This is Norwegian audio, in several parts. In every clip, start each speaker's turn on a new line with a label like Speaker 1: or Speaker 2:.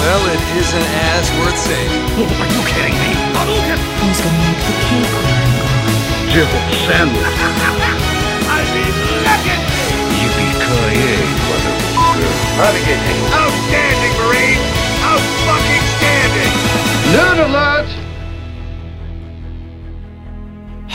Speaker 1: Well, it isn't as worth saying.
Speaker 2: Are you kidding me? Hadouken!
Speaker 3: Who's gonna make the cake
Speaker 2: Jibble sandwich. I mean, legend! Yippee-ki-yay, motherfucker. Renegade. Outstanding, Marine! Out-fucking standing! Nerd alert!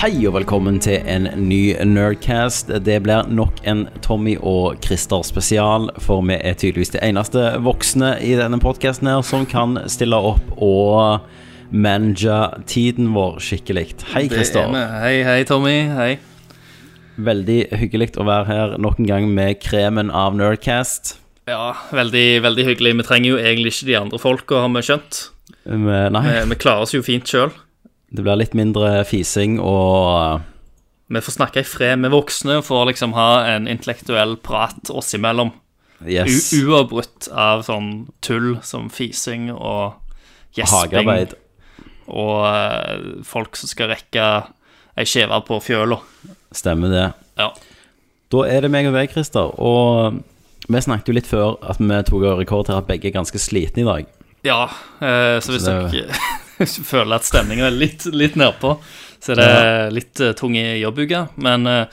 Speaker 4: Hei og velkommen til en ny Nerdcast. Det blir nok en Tommy og Christer spesial, for vi er tydeligvis de eneste voksne i denne podkasten her som kan stille opp og manage tiden vår skikkelig. Hei,
Speaker 5: Det er
Speaker 4: Christer.
Speaker 5: vi. Hei, hei, Tommy. Hei.
Speaker 4: Veldig hyggelig å være her nok en gang med kremen av Nerdcast.
Speaker 5: Ja, veldig, veldig hyggelig. Vi trenger jo egentlig ikke de andre folka, har vi skjønt.
Speaker 4: Men Nei,
Speaker 5: Vi, vi klarer oss jo fint sjøl.
Speaker 4: det blir litt mindre fising og
Speaker 5: Vi får snakke i fred med voksne og får liksom ha en intellektuell prat oss imellom. U
Speaker 4: eh, Yes.
Speaker 5: uavbrutt av sånn tull som fising og gjesping
Speaker 4: Hagearbeid.
Speaker 5: og eh, folk som skal rekke ei skive på fjøla.
Speaker 4: Stemmer det.
Speaker 5: Ja.
Speaker 4: Da er det meg og deg, Christer. Og vi snakket jo litt før at vi tok og rekord her at begge er ganske slitne i dag.
Speaker 5: ja eh, så hvis
Speaker 4: Så
Speaker 5: dere hvis dere føler at stemningen er litt, litt nedpå, så er det litt eh, tung i jobbuka. Men eh,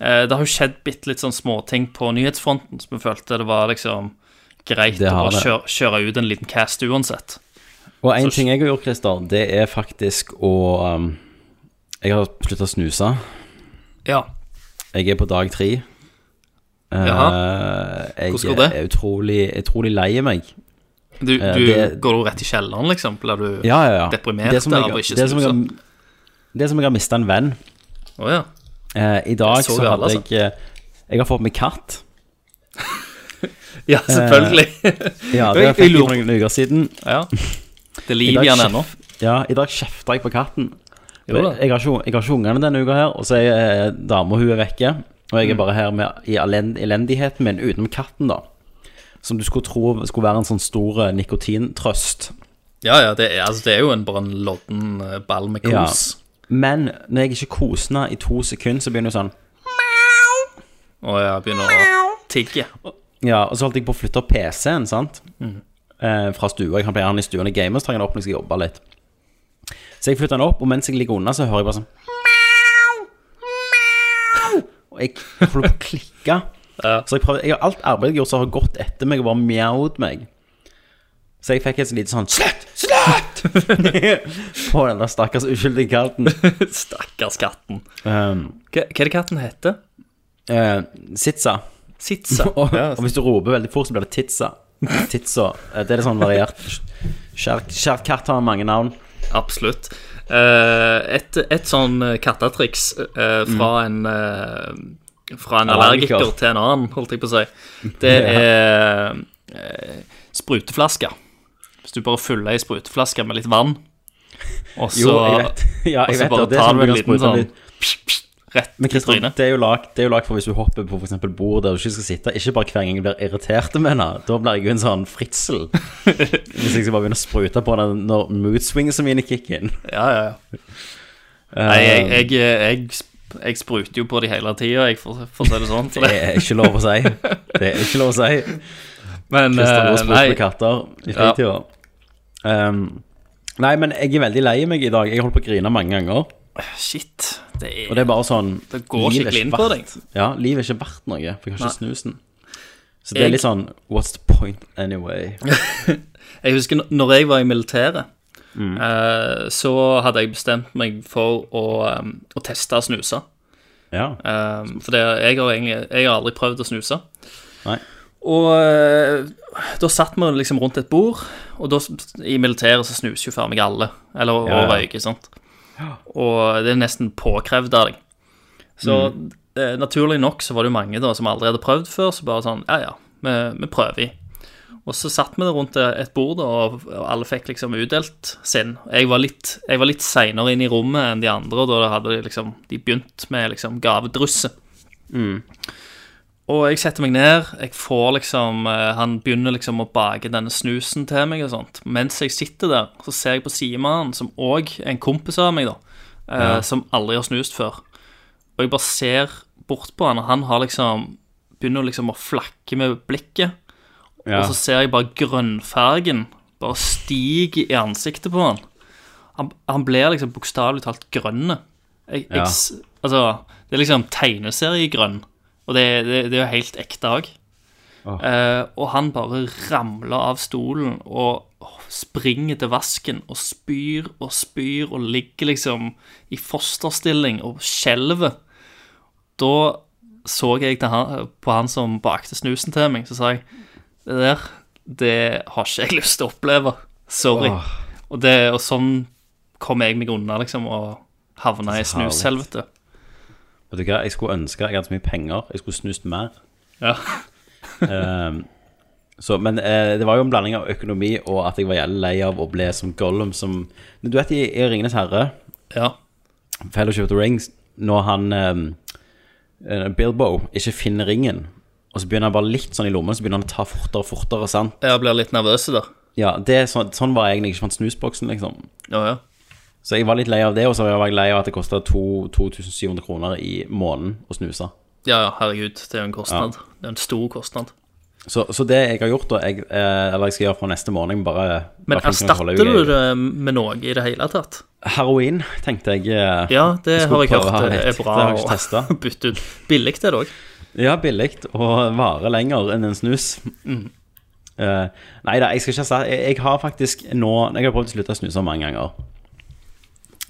Speaker 5: eh, det har jo skjedd bitte litt sånn småting på nyhetsfronten, så vi følte det var liksom greit
Speaker 4: Det
Speaker 5: å bare
Speaker 4: har det.
Speaker 5: kjøre, kjøre ut en liten cast uansett.
Speaker 4: Og en
Speaker 5: Så-
Speaker 4: ting jeg har gjort, Christer, det er faktisk å um, Jeg har sluttet å snuse.
Speaker 5: Ja.
Speaker 4: Jeg er på dag tre. Eh,
Speaker 5: Jaha.
Speaker 4: jeg
Speaker 5: Hvordan går det?
Speaker 4: er utrolig, utrolig lei meg.
Speaker 5: Du,
Speaker 4: Eh,
Speaker 5: du
Speaker 4: det-
Speaker 5: går jo rett i kjelleren, liksom? Blir du
Speaker 4: Ja, ja, ja.
Speaker 5: deprimert
Speaker 4: Det som jeg-
Speaker 5: av å ikke
Speaker 4: det som jeg har-
Speaker 5: snuse?
Speaker 4: Det er som om jeg har mista en venn.
Speaker 5: Å ja.
Speaker 4: Eh, I dag
Speaker 5: Jeg så
Speaker 4: så,
Speaker 5: det alle,
Speaker 4: hadde
Speaker 5: altså.
Speaker 4: jeg eh, Jeg har fått meg katt.
Speaker 5: Ja, selvfølgelig.
Speaker 4: Eh. Ja,
Speaker 5: Oi,
Speaker 4: det
Speaker 5: jeg
Speaker 4: fikk jeg for
Speaker 5: lurer-
Speaker 4: noen uker siden.
Speaker 5: ja. Det er
Speaker 4: I
Speaker 5: liv
Speaker 4: dag
Speaker 5: i han
Speaker 4: kjef-
Speaker 5: ennå.
Speaker 4: Ja, i dag kjefta jeg på katten.
Speaker 5: Jo da.
Speaker 4: Jeg har, ikke, jeg har ikke ungene denne uka her, og så er eh, dama hun er vekke. Og jeg er bare her med, i elend- elendigheten min utenom katten, da. Som du skulle tro skulle være en sånn stor eh, nikotintrøst.
Speaker 5: Ja, ja, det er, altså, det er jo en, bare en lodden eh, ball med
Speaker 4: Ja.
Speaker 5: kos.
Speaker 4: Men når jeg ikke koser henne i to sekunder, så begynner hun sånn
Speaker 5: Å ja, begynner å tigge.
Speaker 4: Ja, og så holdt jeg på å flytte opp PC-en, sant? Eh, fra stua. Jeg kan pleier han i stuen i gamer, så tar jeg han opp når jeg skal jobbe litt. Så jeg flytter han opp, og mens jeg ligger unna, så hører jeg bare sånn Og jeg holder på å klikke. Så jeg prøver, jeg har alt arbeidet jeg har gjort, så har gått etter meg og bare mjaut meg. Så jeg fikk et lite sånn Slutt! Slutt! på den der stakkars uskyldige katten.
Speaker 5: Stakkars katten.
Speaker 4: Um,
Speaker 5: Hva, hva er det katten heter?
Speaker 4: eh, Sitsa.
Speaker 5: Sitsa.
Speaker 4: Og,
Speaker 5: Ja,
Speaker 4: og hvis du roper veldig fort, så blir det Titsa. Titsa. Eh, Det er litt sånn variert. Kjær kjær katt har mange navn.
Speaker 5: Absolutt. Eh, et, et sånn eh, kattetriks eh, fra en eh, Fra en
Speaker 4: Mm. Allergiker.
Speaker 5: allergiker. til en annen, holdt jeg på å si, det er eh, spruteflasker. Hvis du bare fyller ei spruteflaske med litt vann, og så
Speaker 4: Jo, jeg vet. Ja,
Speaker 5: og
Speaker 4: jeg
Speaker 5: så
Speaker 4: vet
Speaker 5: bare
Speaker 4: det. det. er
Speaker 5: tar
Speaker 4: sånn
Speaker 5: du en
Speaker 4: man kan
Speaker 5: liten
Speaker 4: sprute
Speaker 5: sånn
Speaker 4: litt.
Speaker 5: rett
Speaker 4: Men
Speaker 5: i
Speaker 4: Kristian,
Speaker 5: trynet.
Speaker 4: det er jo lag, det er jo lag for hvis du hopper på for eksempel bord der du ikke skal sitte. Ikke bare hver gang jeg blir irritert med henne. Da blir jeg jo en sånn fritsel. Hvis jeg skal bare begynne å sprute på henne når moodswingene mine Eh, kicker inn.
Speaker 5: Ja, ja, ja. Nei, jeg,
Speaker 4: Um,
Speaker 5: jeg, eh, jeg, sp- jeg spruter jo på de hele tida, jeg, for, for å si det sånn. Så
Speaker 4: Det
Speaker 5: det,
Speaker 4: er ikke lov å si. Det er ikke lov å si.
Speaker 5: men
Speaker 4: Kristian går og
Speaker 5: eh,
Speaker 4: spurte
Speaker 5: nei,
Speaker 4: med katter i fritida. Um, nei, men jeg er veldig lei meg i dag. Jeg holder på å grine mange ganger.
Speaker 5: shit. Det
Speaker 4: Og
Speaker 5: er
Speaker 4: det er bare sånn
Speaker 5: Det går
Speaker 4: livet
Speaker 5: skikkelig
Speaker 4: er ikke
Speaker 5: inn på
Speaker 4: verdt-
Speaker 5: deg.
Speaker 4: Ja, livet er ikke verdt noe, for jeg har ikke snusen. Så det er
Speaker 5: Jeg-
Speaker 4: litt sånn What's the point anyway?
Speaker 5: Jeg husker n- når jeg var i militæret,
Speaker 4: Mm.
Speaker 5: eh, så hadde jeg bestemt meg for å, um, å teste å snuse.
Speaker 4: Ja.
Speaker 5: Um, for det, jeg har egentlig jeg har aldri prøvd å snuse.
Speaker 4: Nei.
Speaker 5: Og eh, da satt vi liksom rundt et bord, og da, s- i militæret så snuser jo faen meg alle. Eller
Speaker 4: Ja,
Speaker 5: og
Speaker 4: ja.
Speaker 5: røyker, sant. Og det er nesten påkrevd av deg. Så
Speaker 4: Mm.
Speaker 5: eh, naturlig nok så var det jo mange da som aldri hadde prøvd før, så bare sånn Ja, ja, vi, vi prøver. Og så satt vi det rundt et bord, da, og og alle fikk liksom utdelt sin. Jeg var litt, jeg var litt seinere inn i rommet enn de andre, og da hadde de liksom De begynt med liksom gavedrysset. Og jeg setter meg ned, jeg får liksom eh, Han begynner liksom å bake denne snusen til meg og sånt. Mens jeg sitter der, så ser jeg på sidemannen, som òg er en kompis av meg, da, eh, som aldri har snust før. Og jeg bare ser bort på han, og han har liksom Begynner liksom å flakke med blikket.
Speaker 4: ja.
Speaker 5: Og så ser jeg bare grønnfargen bare stiger i ansiktet på han. Han, han blir liksom bokstavelig talt grønn. Jeg, jeg,
Speaker 4: Ja.
Speaker 5: s- altså, det er liksom tegneseriegrønn, og det, det, det er jo helt ekte òg.
Speaker 4: Åh.
Speaker 5: Eh, og han bare ramler av stolen og springer til vasken og spyr og spyr og ligger liksom i fosterstilling og skjelver. Da så jeg til han, på han som bakte snusen til meg, så sa jeg Det der, det har ikke jeg lyst til å oppleve. Sorry.
Speaker 4: Åh.
Speaker 5: Og, det, og sånn kom jeg meg unna, liksom, og havna i
Speaker 4: Så herlig.
Speaker 5: snushelvete.
Speaker 4: Vet du hva, jeg skulle ønske jeg hadde så mye penger. Jeg skulle snust mer.
Speaker 5: Ja.
Speaker 4: Ehm, så, men eh, det var jo en blanding av økonomi og at jeg var jævlig lei av å bli som Gollum som Du vet i, i Ringenes herre,
Speaker 5: ja.
Speaker 4: Fellowship of the Rings, når han ehm, eh, eh, Bilbo ikke finner ringen, og så begynner han bare litt sånn i lommen, så begynner han å ta fortere og fortere, sant?
Speaker 5: Jeg blir litt nervøs der.
Speaker 4: Ja, det er sånn, sånn var jeg egentlig ikke fant snusboksen, liksom.
Speaker 5: Ja, ja.
Speaker 4: Så jeg var litt lei av det, og så var jeg lei av at det kosta 2700 kroner i måneden å snuse.
Speaker 5: Ja, ja, herregud, det er jo en kostnad. Det er en stor kostnad.
Speaker 4: Så, så det jeg har gjort, da jeg, eh, eller jeg skal gjøre fra neste morgen jeg må bare
Speaker 5: Men
Speaker 4: bare finne noe å holde
Speaker 5: erstatter du
Speaker 4: ut i.
Speaker 5: det med noe i det hele tatt?
Speaker 4: Heroin, tenkte jeg. eh,
Speaker 5: Ja, det
Speaker 4: Jeg
Speaker 5: har
Speaker 4: skulle
Speaker 5: jeg
Speaker 4: prøve
Speaker 5: hørt eh,
Speaker 4: her litt.
Speaker 5: er bra
Speaker 4: Det har jeg ikke
Speaker 5: å
Speaker 4: testet.
Speaker 5: bytte ut. Billig det òg.
Speaker 4: Ja, billig og varer lenger enn en snus. Eh, nei da, jeg skal ikke erstatte jeg, jeg har faktisk nå Jeg har prøvd å slutte å snuse mange ganger.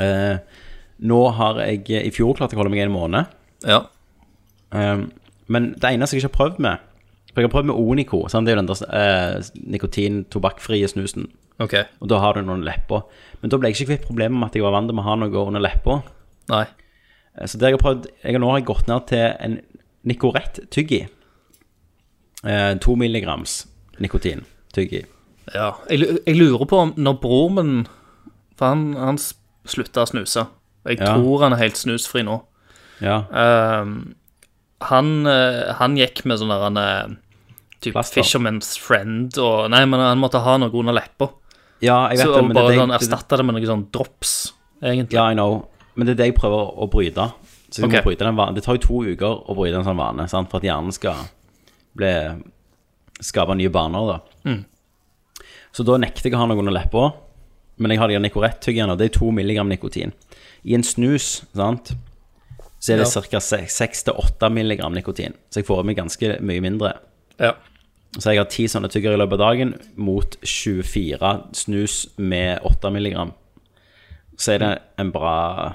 Speaker 4: Eh, nå har jeg eh, I fjor klarte jeg å holde meg en måned.
Speaker 5: Ja.
Speaker 4: Um, men det eneste jeg ikke har prøvd med For jeg har prøvd med Onico. Sant? Det er jo den der eh, nikotin-tobakkfrie snusen.
Speaker 5: Ok.
Speaker 4: Og da har du noen lepper. Men da ble jeg ikke kvitt problemet med at jeg var vant til å ha noe under leppa.
Speaker 5: Nei.
Speaker 4: Eh, Så det jeg har prøvd jeg har Nå har jeg gått ned til en Nicorette-tyggi. Eh, to milligrams nikotin-tyggi.
Speaker 5: Ja. Jeg, lu- jeg lurer på om når bror min For han, han s- slutta å snuse. Jeg
Speaker 4: Ja.
Speaker 5: tror han er helt snusfri nå.
Speaker 4: Ja.
Speaker 5: Ehm, han, eh, han gikk med sånn der han eh, Typ
Speaker 4: Plaster.
Speaker 5: Fisherman's Friend og Nei, men han måtte ha noe under leppa.
Speaker 4: ja, jeg vet
Speaker 5: Så
Speaker 4: det, men det,
Speaker 5: bare
Speaker 4: er det,
Speaker 5: sånn
Speaker 4: jeg- det,
Speaker 5: erstatta det med noe sånn drops, egentlig.
Speaker 4: ja, I know. Men det er det jeg prøver å bryte. Så jeg
Speaker 5: Ok.
Speaker 4: må bryte den vanen. Det tar jo to uker å bryte en sånn vane sant? for at hjernen skal bli, skape nye baner. Da.
Speaker 5: Mm.
Speaker 4: Så da nekter jeg å ha noe under leppa, men jeg har de her Nicorette-tyggiene, og det er to milligram nikotin. I en snus sant? så er det
Speaker 5: Ja.
Speaker 4: ca. 6-8 milligram nikotin, så jeg får i meg ganske mye mindre.
Speaker 5: Ja.
Speaker 4: Så jeg har ti sånne tyggere i løpet av dagen mot 24 snus med 8 milligram. Så er det en bra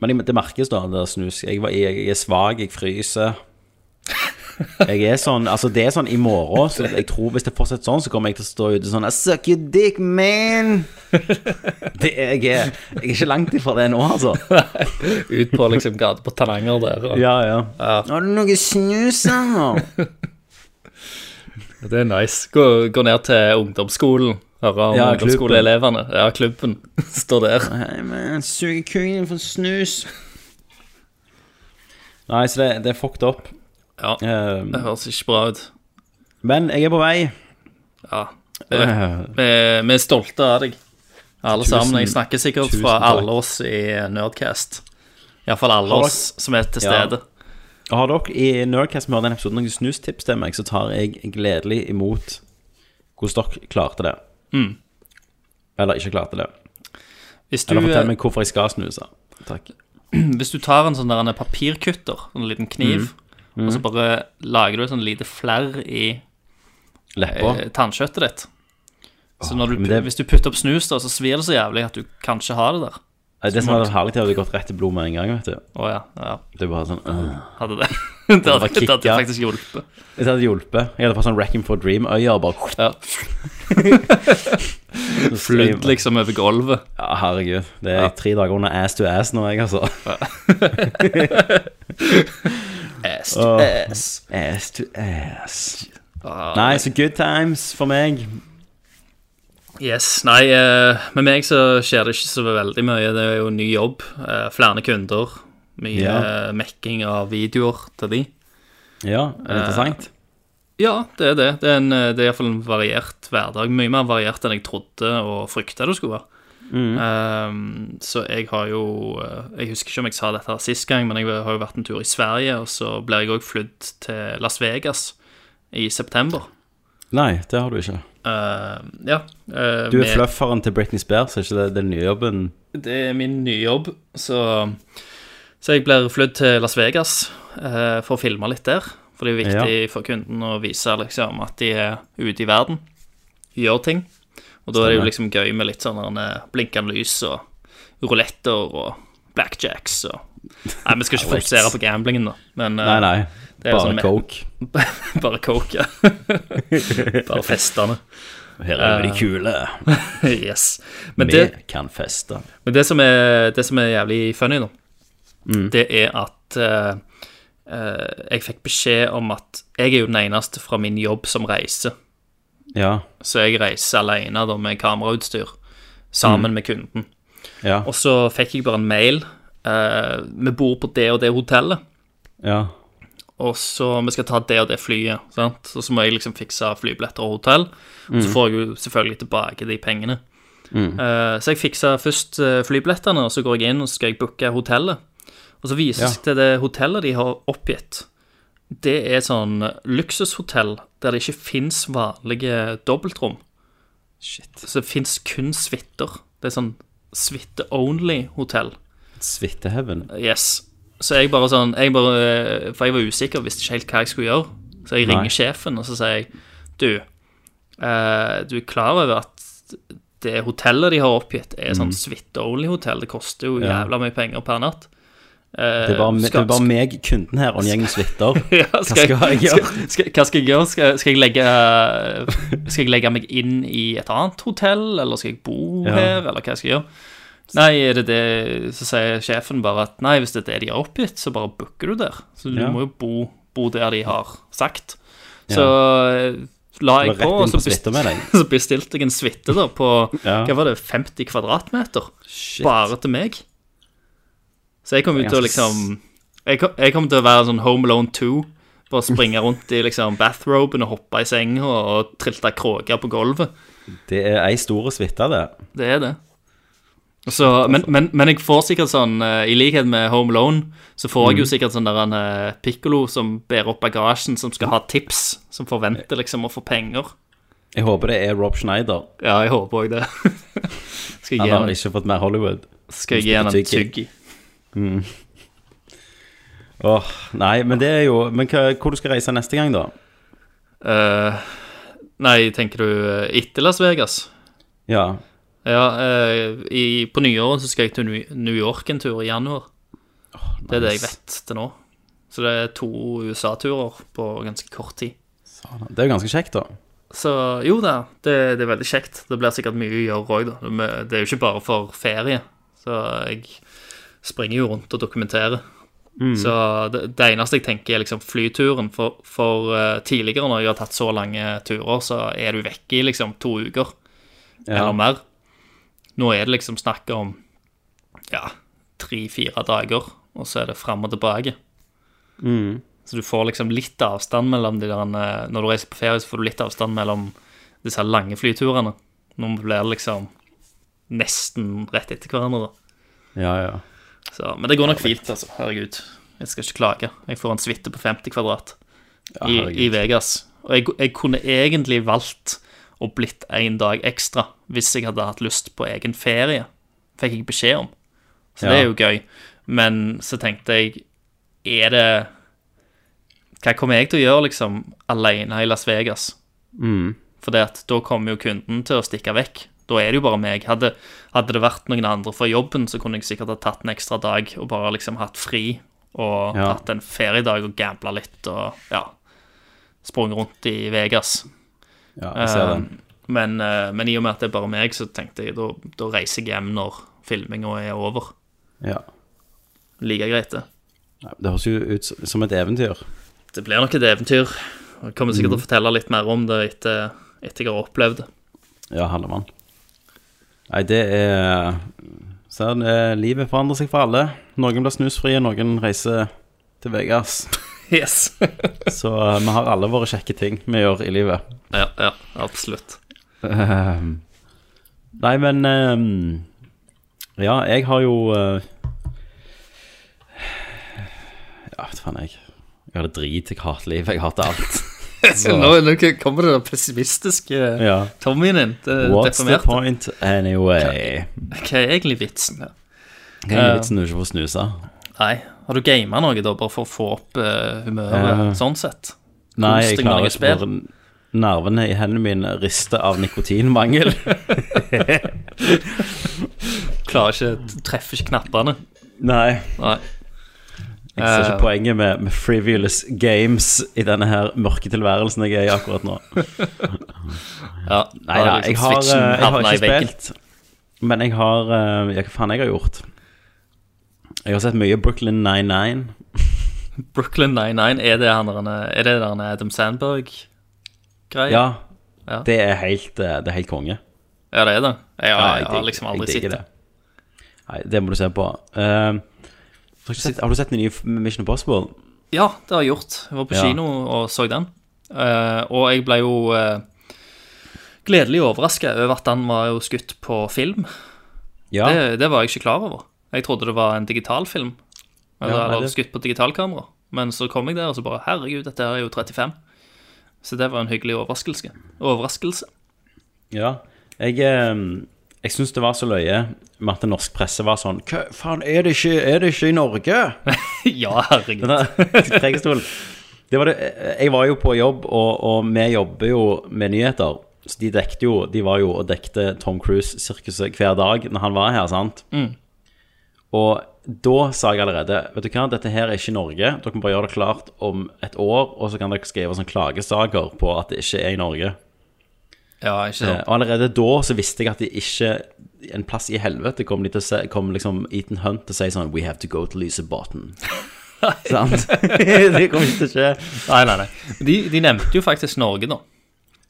Speaker 4: Men jeg- det merkes, da, det der snus. Jeg, var- jeg, jeg er svak, jeg fryser. Jeg er sånn, altså Det er sånn i morgen så jeg tror Hvis det fortsetter sånn, så kommer jeg til å stå ute sånn I suck your dick, man! Det er, jeg, er, jeg er ikke langt ifra det nå, altså.
Speaker 5: Ut på liksom gata på Tananger der. Og,
Speaker 4: Ja, ja. Har du noe snus, da?
Speaker 5: Det er nice. Gå, gå ned til ungdomsskolen. Høre om
Speaker 4: Ja,
Speaker 5: ungdomsskoleelevene. Ja, klubben. Står der.
Speaker 4: Nei, men suger kuken for snus. Nei, så det, det er fucked up.
Speaker 5: Ja,
Speaker 4: Ehm,
Speaker 5: det høres ikke bra ut.
Speaker 4: men jeg er på vei. Eh,
Speaker 5: Ja. det er- Vi, vi er stolte av deg, alle
Speaker 4: Tusen-
Speaker 5: sammen. Jeg snakker sikkert
Speaker 4: tusen
Speaker 5: fra
Speaker 4: takk.
Speaker 5: alle oss i Nerdcast. Iallfall alle
Speaker 4: Har
Speaker 5: oss som er til
Speaker 4: Ja.
Speaker 5: stede.
Speaker 4: Og har dere i Nerdcast som hører denne episoden noen snustips til meg, så tar jeg gledelig imot hvordan dere klarte det.
Speaker 5: Mm.
Speaker 4: Eller ikke klarte det.
Speaker 5: Hvis du,
Speaker 4: Eller fortell
Speaker 5: eh,
Speaker 4: meg hvorfor jeg skal snuse. Takk.
Speaker 5: hvis du tar en sånn der en papirkutter, en liten kniv,
Speaker 4: Mm.
Speaker 5: og så bare lager du et sånn lite flerr i
Speaker 4: Lepper.
Speaker 5: eh, tannkjøttet ditt Så når du,
Speaker 4: men det-
Speaker 5: Hvis du putter opp snus, da, så svir det så jævlig at du kan ikke ha det der.
Speaker 4: Nei, Det som hadde vært herlig, det hadde gått rett i blodet med en gang. vet du
Speaker 5: Å ja, ja.
Speaker 4: Det er bare sånn øh.
Speaker 5: Hadde det. Det hadde,
Speaker 4: bare
Speaker 5: det hadde
Speaker 4: kicka.
Speaker 5: faktisk hjulpet.
Speaker 4: Det hadde hjulpet. Jeg hadde fått sånn Wrecking for Dream-øyer. bare
Speaker 5: Ja. Flydd liksom over gulvet.
Speaker 4: Ja, herregud. Det er tre dager under ass to ass nå, jeg, altså.
Speaker 5: Ass to
Speaker 4: Åh.
Speaker 5: ass.
Speaker 4: Ass to ass.
Speaker 5: Ah,
Speaker 4: Nei, så good times for meg.
Speaker 5: Yes, nei, eh, med meg så skjer det ikke så veldig mye. Det er jo ny jobb, eh, flere kunder, mye
Speaker 4: Ja.
Speaker 5: eh, mekking av videoer til de.
Speaker 4: Ja, er det interessant.
Speaker 5: Ja, det er det. Det er, en, eh, det er iallfall en variert hverdag. Mye mer variert enn jeg trodde og frykta det skulle være.
Speaker 4: Mm.
Speaker 5: Ehm, så jeg har jo eh, Jeg husker ikke om jeg sa dette her sist gang, men jeg har jo vært en tur i Sverige, og så ble jeg òg flydd til Las Vegas i september.
Speaker 4: Nei, det har du ikke.
Speaker 5: Eh, ja. eh,
Speaker 4: Du er
Speaker 5: med-
Speaker 4: flufferen til Britney Spears, er ikke det den nye jobben?
Speaker 5: Det er min nye jobb, så, så jeg blir flydd til Las Vegas eh, for å filme litt der. For det er jo viktig for kunden å vise liksom, at de er ute i verden, gjør ting. Og da er det jo
Speaker 4: Stemmer.
Speaker 5: liksom gøy med litt sånn eh, blinkende lys og ruletter og blackjacks og Nei, vi skal ikke fokusere på gamblingen, da, men eh,
Speaker 4: Nei, nei.
Speaker 5: det er
Speaker 4: Bare
Speaker 5: sånn-
Speaker 4: coke.
Speaker 5: bare coke. bare festene.
Speaker 4: Her er vi de kule.
Speaker 5: Yes. Men
Speaker 4: Vi
Speaker 5: det,
Speaker 4: kan feste.
Speaker 5: Men det som er, det som er jævlig funny nå, det er at eh, eh, jeg fikk beskjed om at jeg er jo den eneste fra min jobb som reiser.
Speaker 4: Ja.
Speaker 5: Så jeg reiser alene da med kamerautstyr sammen med kunden.
Speaker 4: Ja.
Speaker 5: Og så fikk jeg bare en mail. eh, vi bor på det og det hotellet,
Speaker 4: ja.
Speaker 5: og så vi skal ta det og det flyet. Sant? Og så må jeg liksom fikse flybilletter og hotell. Og så får jeg jo selvfølgelig tilbake de pengene. Eh, så jeg fiksa først eh, flybillettene, og så går jeg inn og så skal jeg booke hotellet. Og så viser det
Speaker 4: Ja.
Speaker 5: seg til det hotellet de har oppgitt, det er sånn luksushotell der det ikke fins vanlige dobbeltrom. Shit. Så det fins kun suiter. Det er sånn suite-only-hotell.
Speaker 4: Svitteheaven.
Speaker 5: Yes. Så jeg bare sånn jeg bare, For jeg var usikker, visste ikke helt hva jeg skulle gjøre. Så jeg
Speaker 4: Nei.
Speaker 5: ringer sjefen, og så sier jeg Du, eh, du er klar over at det hotellet de har oppgitt, er sånn suite-only-hotell. Det koster jo
Speaker 4: Mm. Ja.
Speaker 5: jævla mye penger per natt. Eh,
Speaker 4: Det er bare, me- det er bare meg, kunden her, og en gjeng med svitter.
Speaker 5: ja, skal jeg,
Speaker 4: skal Eh, jeg gjøre?
Speaker 5: Skal, skal, hva skal jeg gjøre? Skal, skal, jeg legge, eh, skal jeg legge meg inn i et annet hotell, eller skal jeg bo
Speaker 4: Ja.
Speaker 5: her, eller hva jeg skal gjøre? Nei, er det det, så sier sjefen bare at nei, hvis det er det de har oppgitt, så bare booker du der. Så du
Speaker 4: Ja.
Speaker 5: må jo bo, bo der de har sagt. Så eh, la
Speaker 4: Du
Speaker 5: jeg
Speaker 4: var
Speaker 5: på,
Speaker 4: rett
Speaker 5: og
Speaker 4: inn
Speaker 5: så,
Speaker 4: på
Speaker 5: best,
Speaker 4: svitter med deg.
Speaker 5: så bestilte jeg en suite da på
Speaker 4: Ja.
Speaker 5: hva var det, 50 kvadratmeter
Speaker 4: Shit.
Speaker 5: bare til meg. Så jeg kom ut
Speaker 4: Det er
Speaker 5: og
Speaker 4: ganske
Speaker 5: liksom jeg kom, jeg kom til å være sånn Home Alone 2. Bare springe rundt i liksom bathroben og hoppe i senga og trilte kråker på gulvet.
Speaker 4: Det er ei store svitte, det.
Speaker 5: Det er det. Så, men, men, men jeg får sikkert sånn, eh, i likhet med Home Alone, så får
Speaker 4: Mm.
Speaker 5: jeg jo sikkert sånn der en eh, pikkolo som bærer opp bagasjen, som skal ha tips, som forventer liksom å få penger.
Speaker 4: Jeg håper det er Rob Schneider.
Speaker 5: Ja, jeg håper òg det. skal jeg
Speaker 4: Han
Speaker 5: gi
Speaker 4: har
Speaker 5: han,
Speaker 4: ikke fått mer Hollywood.
Speaker 5: skal jeg gi han en tyggi?
Speaker 4: Åh, nei, men det er jo Men hva, hvor du skal reise neste gang, da?
Speaker 5: Eh, nei, tenker du eh, etter Las Vegas?
Speaker 4: Ja.
Speaker 5: Ja, eh, i, på nyåret så skal jeg til New- New York en tur i januar. Det er det jeg vet til nå. Så det er to USA-turer på ganske kort tid.
Speaker 4: Det er jo ganske kjekt, da.
Speaker 5: Så jo da, det, det er veldig kjekt. Det blir sikkert mye å gjøre òg, da. Men eh, Det er jo ikke bare for ferie. Så jeg springer jo rundt og dokumenterer. Så det, det eneste jeg tenker, er liksom flyturen. For, for eh, tidligere, når jeg har tatt så lange turer, så er du vekke i liksom to uker
Speaker 4: Ja.
Speaker 5: eller mer. Nå er det liksom snakk om ja, tre-fire dager, og så er det fram og tilbake.
Speaker 4: Mm.
Speaker 5: Så du får liksom litt avstand mellom de der eh, Når du reiser på ferie, så får du litt avstand mellom disse lange flyturene. Nå blir det liksom nesten rett etter hverandre. da.
Speaker 4: ja, ja.
Speaker 5: Så, men det går nok fint, altså. Herregud. Jeg skal ikke klage. Jeg får en suite på 50 kvadrat i,
Speaker 4: herregud.
Speaker 5: i Vegas. Og jeg, jeg kunne egentlig valgt å blitt en dag ekstra hvis jeg hadde hatt lyst på egen ferie. Fikk jeg beskjed om. Så det
Speaker 4: Ja.
Speaker 5: er jo gøy. Men så tenkte jeg Er det Hva kommer jeg til å gjøre, liksom, alene i Las Vegas?
Speaker 4: Mm.
Speaker 5: For det at da kommer jo kunden til å stikke vekk. Da er det jo bare meg. Hadde, hadde det vært noen andre fra jobben, så kunne jeg sikkert ha tatt en ekstra dag og bare liksom hatt fri og
Speaker 4: Ja.
Speaker 5: hatt en feriedag og gambla litt og ja, sprunget rundt i Vegas.
Speaker 4: ja jeg ser den.
Speaker 5: Eh, Men, eh, men i og med at det er bare meg, så tenkte jeg da, da reiser jeg hjem når filminga er over.
Speaker 4: Ja.
Speaker 5: Like greit, det.
Speaker 4: Nei, Det høres jo ut s- som et eventyr.
Speaker 5: Det blir nok et eventyr. og Jeg kommer
Speaker 4: Mm.
Speaker 5: sikkert til å fortelle litt mer om det etter, etter jeg har opplevd det.
Speaker 4: Ja, Hallemann. Nei, det er Sånn, eh, livet forandrer seg for alle. Noen blir snusfrie, noen reiser til Vegas.
Speaker 5: Yes.
Speaker 4: Så eh, vi har alle våre kjekke ting vi gjør i livet.
Speaker 5: ja, ja, absolutt.
Speaker 4: Ehm, nei, men ehm, Ja, jeg har jo eh, Ja, vet faen, jeg. Jeg har det drit, jeg hater liv, jeg hater alt. Så-
Speaker 5: Nå, nå kommer det den pessimistiske
Speaker 4: Ja.
Speaker 5: Tommyen din. eh, Det
Speaker 4: What's the
Speaker 5: deprimerte.
Speaker 4: point anyway?
Speaker 5: Hva er egentlig vitsen? her?
Speaker 4: Hva er vitsen du ikke får snusa?
Speaker 5: Nei. Har du gama noe, da, bare for å få opp eh, humøret?
Speaker 4: Ja.
Speaker 5: Sånn sett.
Speaker 4: Nei, jeg
Speaker 5: Konstig
Speaker 4: klarer ikke
Speaker 5: narrespill.
Speaker 4: bare Nervene i hendene mine rister av nikotinmangel.
Speaker 5: Klarer ikke Treffer ikke knappene.
Speaker 4: Nei.
Speaker 5: Nei.
Speaker 4: Jeg ser
Speaker 5: Eh.
Speaker 4: ikke poenget med, med frivolous games i denne her mørke tilværelsen jeg er i akkurat nå.
Speaker 5: Ja,
Speaker 4: Nei da,
Speaker 5: da er liksom
Speaker 4: jeg har, eh,
Speaker 5: switchen
Speaker 4: jeg har
Speaker 5: havnet i
Speaker 4: ikke
Speaker 5: veggen.
Speaker 4: spilt. Men jeg har eh, Ja, hva faen jeg har gjort? Jeg har sett mye Brooklyn 99.
Speaker 5: Brooklyn 99, er det han der- er det der Adam Sandberg-greia?
Speaker 4: Ja.
Speaker 5: Ja.
Speaker 4: Det er helt, eh, det er helt konge.
Speaker 5: Ja, det er det. Jeg, har- jeg,
Speaker 4: digger-
Speaker 5: har liksom aldri
Speaker 4: jeg
Speaker 5: sett
Speaker 4: digger
Speaker 5: det.
Speaker 4: Nei, det må du se på. Eh, har, du sett, har du sett den nye F- Mission Impossible?
Speaker 5: Ja, det har jeg gjort. Jeg var på
Speaker 4: Ja.
Speaker 5: kino og så den. Eh, og jeg ble jo eh, gledelig overraska over at den var jo skutt på film.
Speaker 4: Ja.
Speaker 5: Det, det var jeg ikke klar over. Jeg trodde det var en digital film. Eller,
Speaker 4: Ja, nei,
Speaker 5: eller
Speaker 4: det-
Speaker 5: skutt på digitalkamera. Men så kom jeg der, og så bare Herregud, dette her er jo 35. Så det var en hyggelig overraskelse. Overraskelse.
Speaker 4: ja. Jeg, eh, jeg syns det var så løye med at den norske presse var sånn Hva faen, er det ikke, er det ikke i Norge?
Speaker 5: ja, herregud.
Speaker 4: Denne prekestol. Det var det. Jeg var jo på jobb, og, og vi jobber jo med nyheter. Så de dekte jo De var jo og dekte Tom Cruise-sirkuset hver dag når han var her, sant? Og da sa jeg allerede Vet du hva, dette her er ikke Norge. Dere må bare gjøre det klart om et år, og så kan dere skrive sånn klagesaker på at det ikke er i Norge.
Speaker 5: Ja, ikke
Speaker 4: Eh,
Speaker 5: sant.
Speaker 4: Og allerede da så visste jeg at de ikke En plass i helvete kom, de til å se, kom liksom Ethan Hunt til å si sånn We have to go to Lysebotn. Sant? det kommer ikke til å skje.
Speaker 5: Nei, nei, nei. De, de nevnte jo faktisk Norge, da.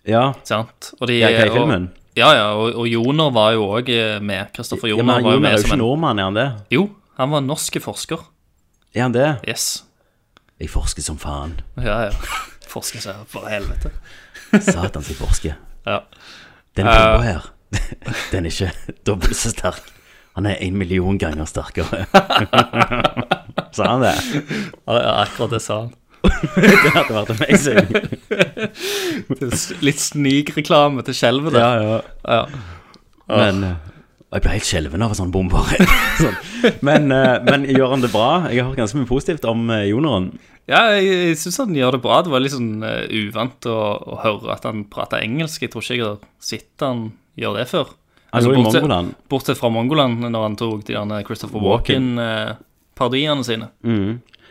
Speaker 4: Ja.
Speaker 5: Sant? Og de,
Speaker 4: Ja, hva i
Speaker 5: og-
Speaker 4: filmen?
Speaker 5: Ja, ja, og, og Joner var jo òg med. Kristoffer
Speaker 4: ja
Speaker 5: Joner
Speaker 4: men han
Speaker 5: var jo
Speaker 4: Joner
Speaker 5: med
Speaker 4: er jo
Speaker 5: som
Speaker 4: ikke
Speaker 5: en
Speaker 4: nordmann, er han det?
Speaker 5: Jo, han var en norsk forsker.
Speaker 4: Er han det?
Speaker 5: Yes.
Speaker 4: Jeg forsker som faen.
Speaker 5: Ja, ja. Forsker seg opp, for helvete.
Speaker 4: Satans, jeg forsker.
Speaker 5: Ja. Eh.
Speaker 4: Den bomba her, den er ikke dobbelt så sterk. Han er en million ganger sterkere. Sa han det?
Speaker 5: Ja, akkurat det sa han.
Speaker 4: Det hadde vært amazing.
Speaker 5: Litt snikreklame til skjelvet der.
Speaker 4: ja.
Speaker 5: Ja. Ah.
Speaker 4: Men eh, Jeg ble helt skjelven av en sånn bombe. sånn. Men, eh, men gjør han det bra? Jeg har hørt ganske mye positivt om eh, Joneren.
Speaker 5: Ja, jeg, jeg syns han gjør det bra. Det var litt sånn eh, uvant å, å høre at han prater engelsk. Jeg tror ikke jeg har sett han gjør det før. Altså,
Speaker 4: Han gjorde det i
Speaker 5: bortsett-
Speaker 4: Mongoland.
Speaker 5: Bortsett fra Mongoland, når han tok de der Christopher
Speaker 4: Walken.
Speaker 5: Walken-parodiene sine.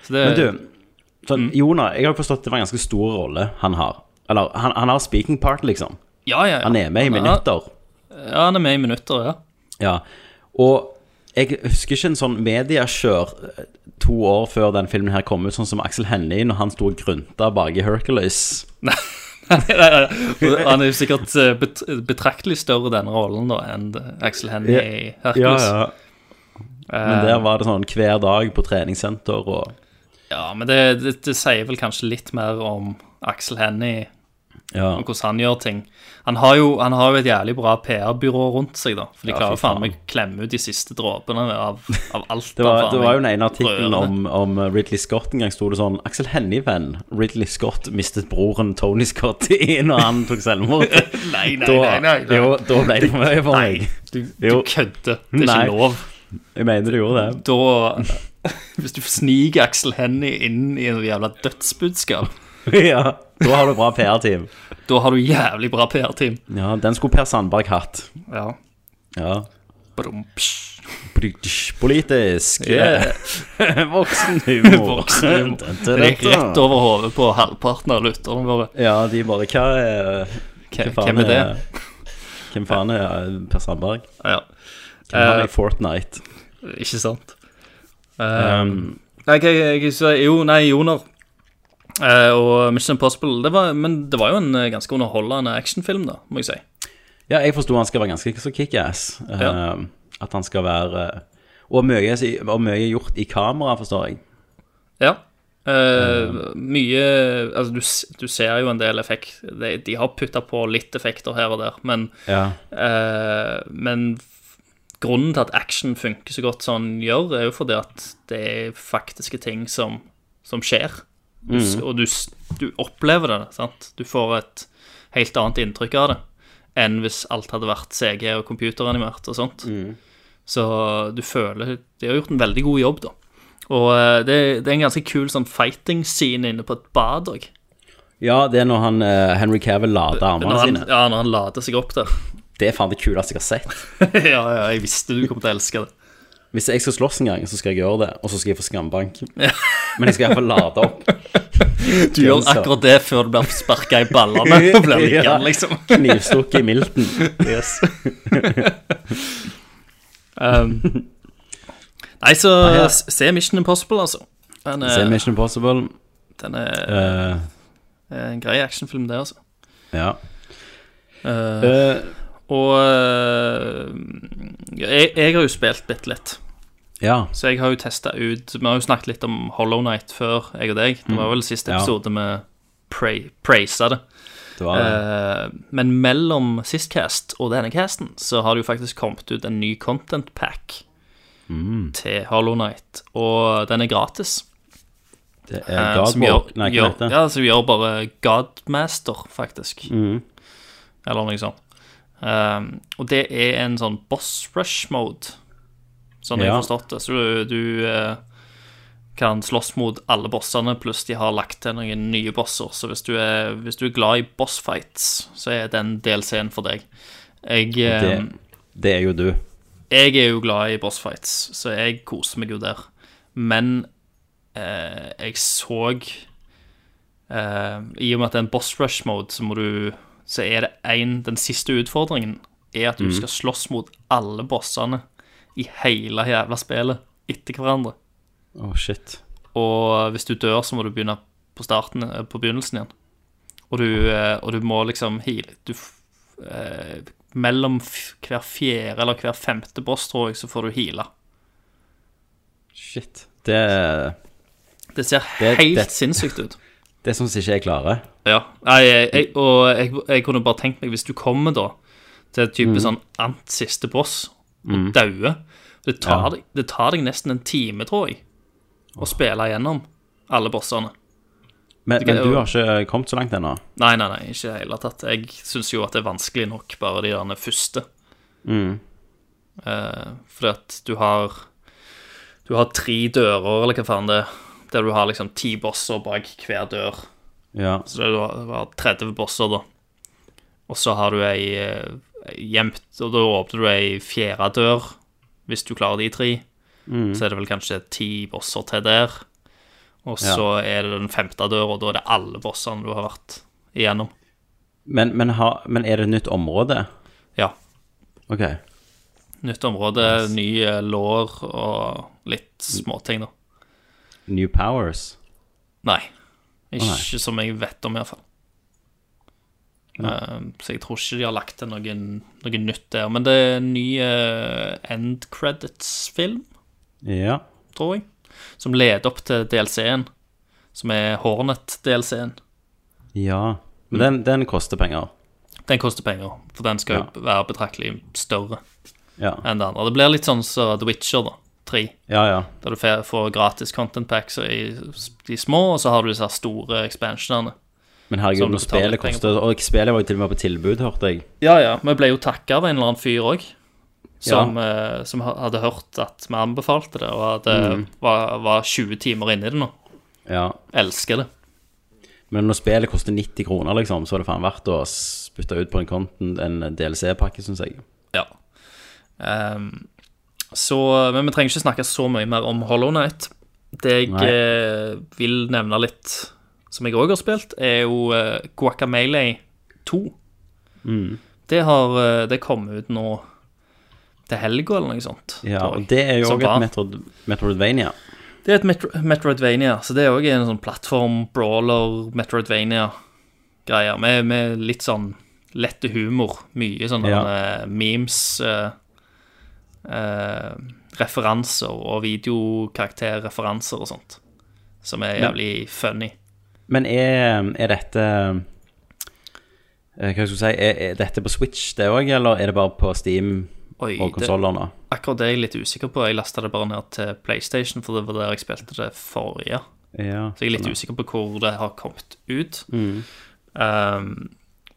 Speaker 5: Så det,
Speaker 4: Mm. Men du,
Speaker 5: Mm.
Speaker 4: sånn, Joner, jeg har jo forstått det var en ganske stor rolle han har. Eller han, han har speaking part, liksom.
Speaker 5: ja, ja, ja.
Speaker 4: Han er med i minutter.
Speaker 5: Ja, han er med i minutter, ja.
Speaker 4: Ja. Og jeg husker ikke en sånn mediekjør eh, to år før den filmen her kom ut, sånn som Axel Hennie når han sto og grynta bak i Hercules.
Speaker 5: Nei, nei, nei, nei. Og Han er jo sikkert eh, bet betraktelig større i denne rollen da enn Axel Hennie i Hercules. Eh, Ja,
Speaker 4: Men der var det sånn hver dag på treningssenter og
Speaker 5: men det, det, det sier vel kanskje litt mer om Axel Hennie
Speaker 4: Ja.
Speaker 5: og hvordan han gjør ting. Han har jo, han har jo et jævlig bra PR-byrå rundt seg, da. For de
Speaker 4: Ja,
Speaker 5: klarer
Speaker 4: fy
Speaker 5: faen
Speaker 4: faen.
Speaker 5: meg å klemme ut de siste dråpene av, av alt. han
Speaker 4: Det var,
Speaker 5: faen
Speaker 4: det
Speaker 5: meg
Speaker 4: var jo den ene artikkelen
Speaker 5: rører.
Speaker 4: om, om eh, Ridley Scott en gang sto det sånn Axel Hennie-venn. Ridley Scott mistet broren Tony Scott i når han tok selvmord.
Speaker 5: Nei, nei,
Speaker 4: da,
Speaker 5: nei. nei, nei.
Speaker 4: Jo, da ble det for mye for meg.
Speaker 5: Nei, du, du
Speaker 4: Jo.
Speaker 5: kødder. Det er
Speaker 4: Nei.
Speaker 5: ikke lov.
Speaker 4: Jeg mener du gjorde det.
Speaker 5: Da Hvis du sniker Axel Hennie inn i en jævla dødsbudskap,
Speaker 4: ja, Da har du bra PR-team.
Speaker 5: da har du jævlig bra PR-team.
Speaker 4: Ja, Den skulle Per Sandberg hatt.
Speaker 5: Ja.
Speaker 4: Ja.
Speaker 5: Brum, psh.
Speaker 4: Politisk. eh,
Speaker 5: Yeah.
Speaker 4: Voksenhumor.
Speaker 5: Voksenhumor. Rett rett over hodet på halvparten av lytterne våre.
Speaker 4: Ja, de bare Hva er
Speaker 5: Hvem- Hvem er det?
Speaker 4: Hvem faen er eh, Per Sandberg?
Speaker 5: Ja,
Speaker 4: Hvem er han
Speaker 5: Eh,
Speaker 4: i Fortnite?
Speaker 5: ikke sant? Eh, nei, hva jeg, jeg, sa- jo, nei, Joner eh, og Mission Impossible det var, Men det var jo en eh, ganske underholdende actionfilm, da, må jeg si.
Speaker 4: Ja, jeg forsto han skal være ganske så kickass. Eh,
Speaker 5: Ja.
Speaker 4: At han skal være eh, og mye, og mye gjort i kamera, forstår jeg.
Speaker 5: Ja. Eh, mye Altså, du, s- du ser jo en del effekt. De, de har putta på litt effekter her og der, men, eh, men f- grunnen til at action funker så godt som den gjør, er jo fordi at det er faktiske ting som, som skjer. Du, s- Og du, s- du opplever det, sant? Du får et helt annet inntrykk av det enn hvis alt hadde vært CG og computeranimert og sånt. Så du føler De har gjort en veldig god jobb, da. Og eh, det, det er en ganske kul sånn fighting-scene inne på et bad òg.
Speaker 4: Ja, det er når han, eh, Henry Cavill lader armene
Speaker 5: Når han,
Speaker 4: sine.
Speaker 5: ja, når han lader seg opp der.
Speaker 4: Det er faen det kuleste jeg har sett.
Speaker 5: ja, ja, jeg visste du kom til å elske det.
Speaker 4: Hvis jeg skal slåss en gang, så skal jeg gjøre det, og så skal jeg få skambank. Men jeg skal iallfall lade opp.
Speaker 5: Du gjør
Speaker 4: Genser.
Speaker 5: akkurat det før du blir sparka i ballene og blir liggende, liksom.
Speaker 4: Knivstukket i milten.
Speaker 5: Yes. um, nei, så s- se Mission Impossible, altså. Den
Speaker 4: Ah, Se
Speaker 5: er,
Speaker 4: Mission Impossible.
Speaker 5: den er
Speaker 4: Eh,
Speaker 5: eh, en grei actionfilm, det, altså.
Speaker 4: ja.
Speaker 5: Eh,
Speaker 4: Eh,
Speaker 5: og eh, jeg, jeg har jo spilt bitte litt,
Speaker 4: ja.
Speaker 5: så jeg har jo testa ut Vi har jo snakket litt om Hollow Night før, jeg og deg. Det var vel siste
Speaker 4: Mm. Ja.
Speaker 5: episode vi praisa det.
Speaker 4: Det var det.
Speaker 5: Eh, men mellom sist cast og denne casten så har det jo faktisk kommet ut en ny content pack
Speaker 4: Mm.
Speaker 5: til Hollow Knight, og den er gratis.
Speaker 4: Det
Speaker 5: eh,
Speaker 4: er
Speaker 5: som gjør,
Speaker 4: Godborg. Nei, hva
Speaker 5: gjør,
Speaker 4: heter det?
Speaker 5: ja, som gjør bare Godmaster, faktisk.
Speaker 4: Mm.
Speaker 5: Eller noe sånt. Eh, og det er en sånn boss rush mode, sånn jeg
Speaker 4: Ja.
Speaker 5: har forstått det. Så du, du eh, kan slåss mot alle bossene, pluss de har lagt til noen nye bosser. Så hvis du er, hvis du er glad i bossfights, så er den DLC-en for deg. Jeg, eh,
Speaker 4: Det, det er jo du.
Speaker 5: jeg er jo glad i bossfights, så jeg koser meg jo der. Men eh, jeg så eh, I og med at det er en boss rush mode, så, må du, så er det en, den siste utfordringen er at du skal slåss mot alle bossene i hele jævla spillet etter hverandre.
Speaker 4: Å, shit.
Speaker 5: Og hvis du dør, så må du begynne på starten, eh, på begynnelsen igjen. Og du, eh, og du må liksom heale du, f- eh, Mellom f hver fjerde eller hver femte boss, tror jeg, så får du heale.
Speaker 4: Shit. Det,
Speaker 5: Det ser
Speaker 4: Det-
Speaker 5: helt
Speaker 4: det-
Speaker 5: sinnssykt ut.
Speaker 4: det syns ikke jeg klarer.
Speaker 5: Ja. Nei, jeg, jeg, og jeg, jeg kunne bare tenkt meg, hvis du kommer da til type sånn ant siste boss og dauer det, tar deg- det tar deg nesten en time, tror jeg, å spille gjennom alle bossene.
Speaker 4: Men,
Speaker 5: kan
Speaker 4: men
Speaker 5: jo-
Speaker 4: du har ikke kommet så langt ennå?
Speaker 5: Nei, nei, nei, ikke i det hele tatt. Jeg syns jo at det er vanskelig nok, bare de der første. Mm. Eh, fordi at du har Du har tre dører, eller hva faen det er, der du har liksom ti bosser bak hver dør.
Speaker 4: Ja.
Speaker 5: Så det var- det var 30 bosser, da. Og så har du ei eh, gjemt Og da åpner du ei fjerde dør, hvis du klarer de tre. Så er det vel kanskje ti bosser til der. Og så er det den femte døra, og da er det alle bossene du har vært igjennom.
Speaker 4: Men, men, har- men er det et nytt område?
Speaker 5: Ja.
Speaker 4: OK.
Speaker 5: Nytt område, nye lår og litt småting, da.
Speaker 4: New Powers.
Speaker 5: Nei. Ikke
Speaker 4: Å,
Speaker 5: som jeg vet om, iallfall. Um, så jeg tror ikke de har lagt til noe, noe nytt der. Men det er en ny eh, end credits-film,
Speaker 4: Ja.
Speaker 5: tror jeg, som leder opp til DLC-en, som er Hornet-DLC-en.
Speaker 4: Ja. Men den, den koster penger.
Speaker 5: Den koster penger, for den skal jo være betraktelig større
Speaker 4: Ja.
Speaker 5: enn det andre. Det blir litt sånn som The Witcher, da. 3.
Speaker 4: Ja, ja.
Speaker 5: Der du fe- får gratis content packs i de små, og så har du disse her store expansionene.
Speaker 4: Men
Speaker 5: Som
Speaker 4: herregud,
Speaker 5: du
Speaker 4: når
Speaker 5: betaler
Speaker 4: spillet
Speaker 5: penger
Speaker 4: koster Og spillet var jo til og med på tilbud, hørte jeg.
Speaker 5: Ja, ja. Vi ble jo takka av en eller annen fyr òg, som, eh, som ha- hadde hørt at vi anbefalte det, og at det
Speaker 4: Mm.
Speaker 5: var, var 20 timer inni det nå.
Speaker 4: Ja.
Speaker 5: Elsker det.
Speaker 4: Men når spillet koster 90 kroner, liksom, så er det faen verdt å spytte ut på en content, en DLC-pakke, syns jeg.
Speaker 5: Ja. Ehm, så Men vi trenger ikke snakke så mye mer om Hollow Night. Det jeg
Speaker 4: Nei.
Speaker 5: eh, vil nevne litt, som jeg òg har spilt, er jo eh, Guacamele 2.
Speaker 4: Mm.
Speaker 5: Det har eh, Det kom ut nå til helga, eller noe sånt.
Speaker 4: Ja,
Speaker 5: tror jeg.
Speaker 4: og det er jo
Speaker 5: Som
Speaker 4: òg et
Speaker 5: var.
Speaker 4: Metroid, Metroidvania.
Speaker 5: Det er et Metro Metroidvania, så det er òg en sånn plattform-brawler-Metroidvania-greier. Med, med litt sånn lette humor. Mye sånne
Speaker 4: Ja.
Speaker 5: eh, memes, eh, eh, referanser og videokarakterreferanser og sånt. Som er
Speaker 4: Men-
Speaker 5: jævlig funny.
Speaker 4: Men er, er dette eh, Hva skal jeg si er, er dette på Switch, det òg, eller er det bare på Steam
Speaker 5: Oi,
Speaker 4: og
Speaker 5: det,
Speaker 4: konsoller nå?
Speaker 5: akkurat det er jeg litt usikker på. Jeg lasta det bare ned til PlayStation, for det var der jeg spilte det forrige.
Speaker 4: Ja,
Speaker 5: Så jeg er litt
Speaker 4: skjønner.
Speaker 5: usikker på hvor det har kommet ut.
Speaker 4: Mm.
Speaker 5: Um,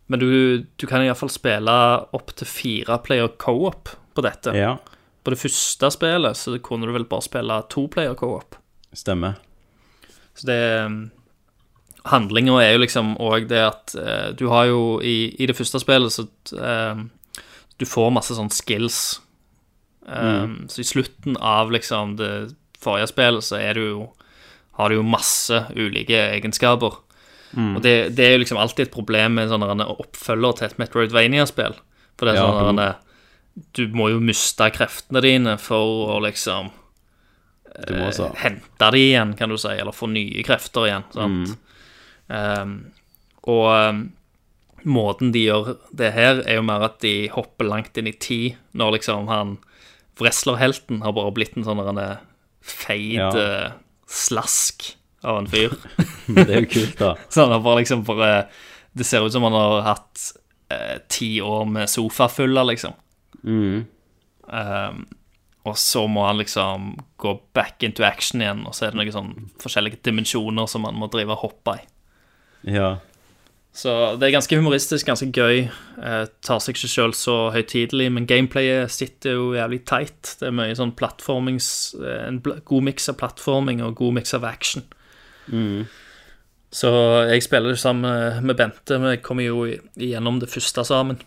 Speaker 5: men du, du kan iallfall spille opp til fire player co-op på dette.
Speaker 4: Ja,
Speaker 5: På det første spillet så kunne du vel bare spille to player co-op.
Speaker 4: stemmer.
Speaker 5: Så det Handlinga er jo liksom òg det at eh, du har jo i, i det første spillet så eh, Du får masse sånn skills. Eh, Så i slutten av liksom det forrige spillet så er du jo Har du jo masse ulike egenskaper. Og det, det er jo liksom alltid et problem med sånne rene oppfølger til et Metroidvania-spill. For det er
Speaker 4: Ja.
Speaker 5: sånn rene- Du må jo miste kreftene dine for å liksom
Speaker 4: Du må så.
Speaker 5: hente Eh, de igjen, kan du si, eller få nye krefter igjen.
Speaker 4: Mm.
Speaker 5: Sant? Ehm, og ehm, måten de gjør det her, er jo mer at de hopper langt inn i tid, når liksom han wrestlerhelten har bare blitt en sånn der en feit
Speaker 4: Ja.
Speaker 5: eh, slask av en fyr.
Speaker 4: Det er jo kult, da.
Speaker 5: Så han har bare liksom bare Det ser ut som han har hatt eh, ti år med sofafuller, liksom. Um, og så må han liksom gå back into action igjen, og så er det noen sånn forskjellige dimensjoner som han må drive og hoppe i.
Speaker 4: Ja.
Speaker 5: Så det er ganske humoristisk, ganske gøy. Eh, tar seg ikke sjøl så høytidelig, men gameplayet sitter jo jævlig tight. Det er mye sånn plattformings eh, En bl- god miks av plattforming og god miks av action.
Speaker 4: Mm.
Speaker 5: Så jeg spiller det sammen med Bente. Vi kommer jo i- igjennom det første sammen.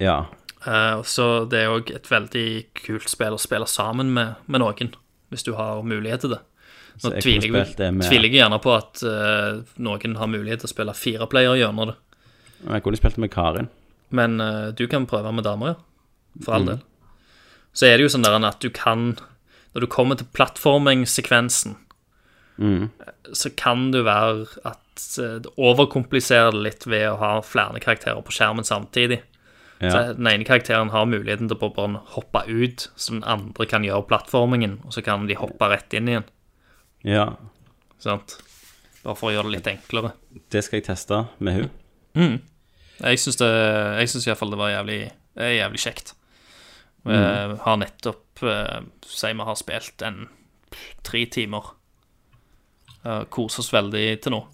Speaker 4: ja.
Speaker 5: Eh, og så det er òg et veldig kult spill å spille sammen med, med noen, hvis du har mulighet til det. Nå
Speaker 4: Så jeg
Speaker 5: tviler
Speaker 4: kunne
Speaker 5: jeg,
Speaker 4: spilt det med-
Speaker 5: tviler jeg gjerne på at eh, noen har mulighet til å spille fire player gjennom det,
Speaker 4: Jeg kunne spilt med Karin.
Speaker 5: men eh, du kan prøve med damer, ja. For all del. Så er det jo sånn der at du kan Når du kommer til plattformingssekvensen, så kan det være at eh, det overkompliserer det litt ved å ha flere karakterer på skjermen samtidig.
Speaker 4: Ja.
Speaker 5: Så den ene karakteren har muligheten til å bare- bare hoppe ut, så den andre kan gjøre plattformingen, og så kan de hoppe rett inn igjen.
Speaker 4: ja.
Speaker 5: Sant? Bare for å gjøre det litt enklere.
Speaker 4: Det skal jeg teste med hun.
Speaker 5: Jeg syns iallfall det var jævlig, eh, jævlig kjekt. Vi har nettopp eh, Si vi har spilt en tre timer. Uh, Koser oss veldig til nå.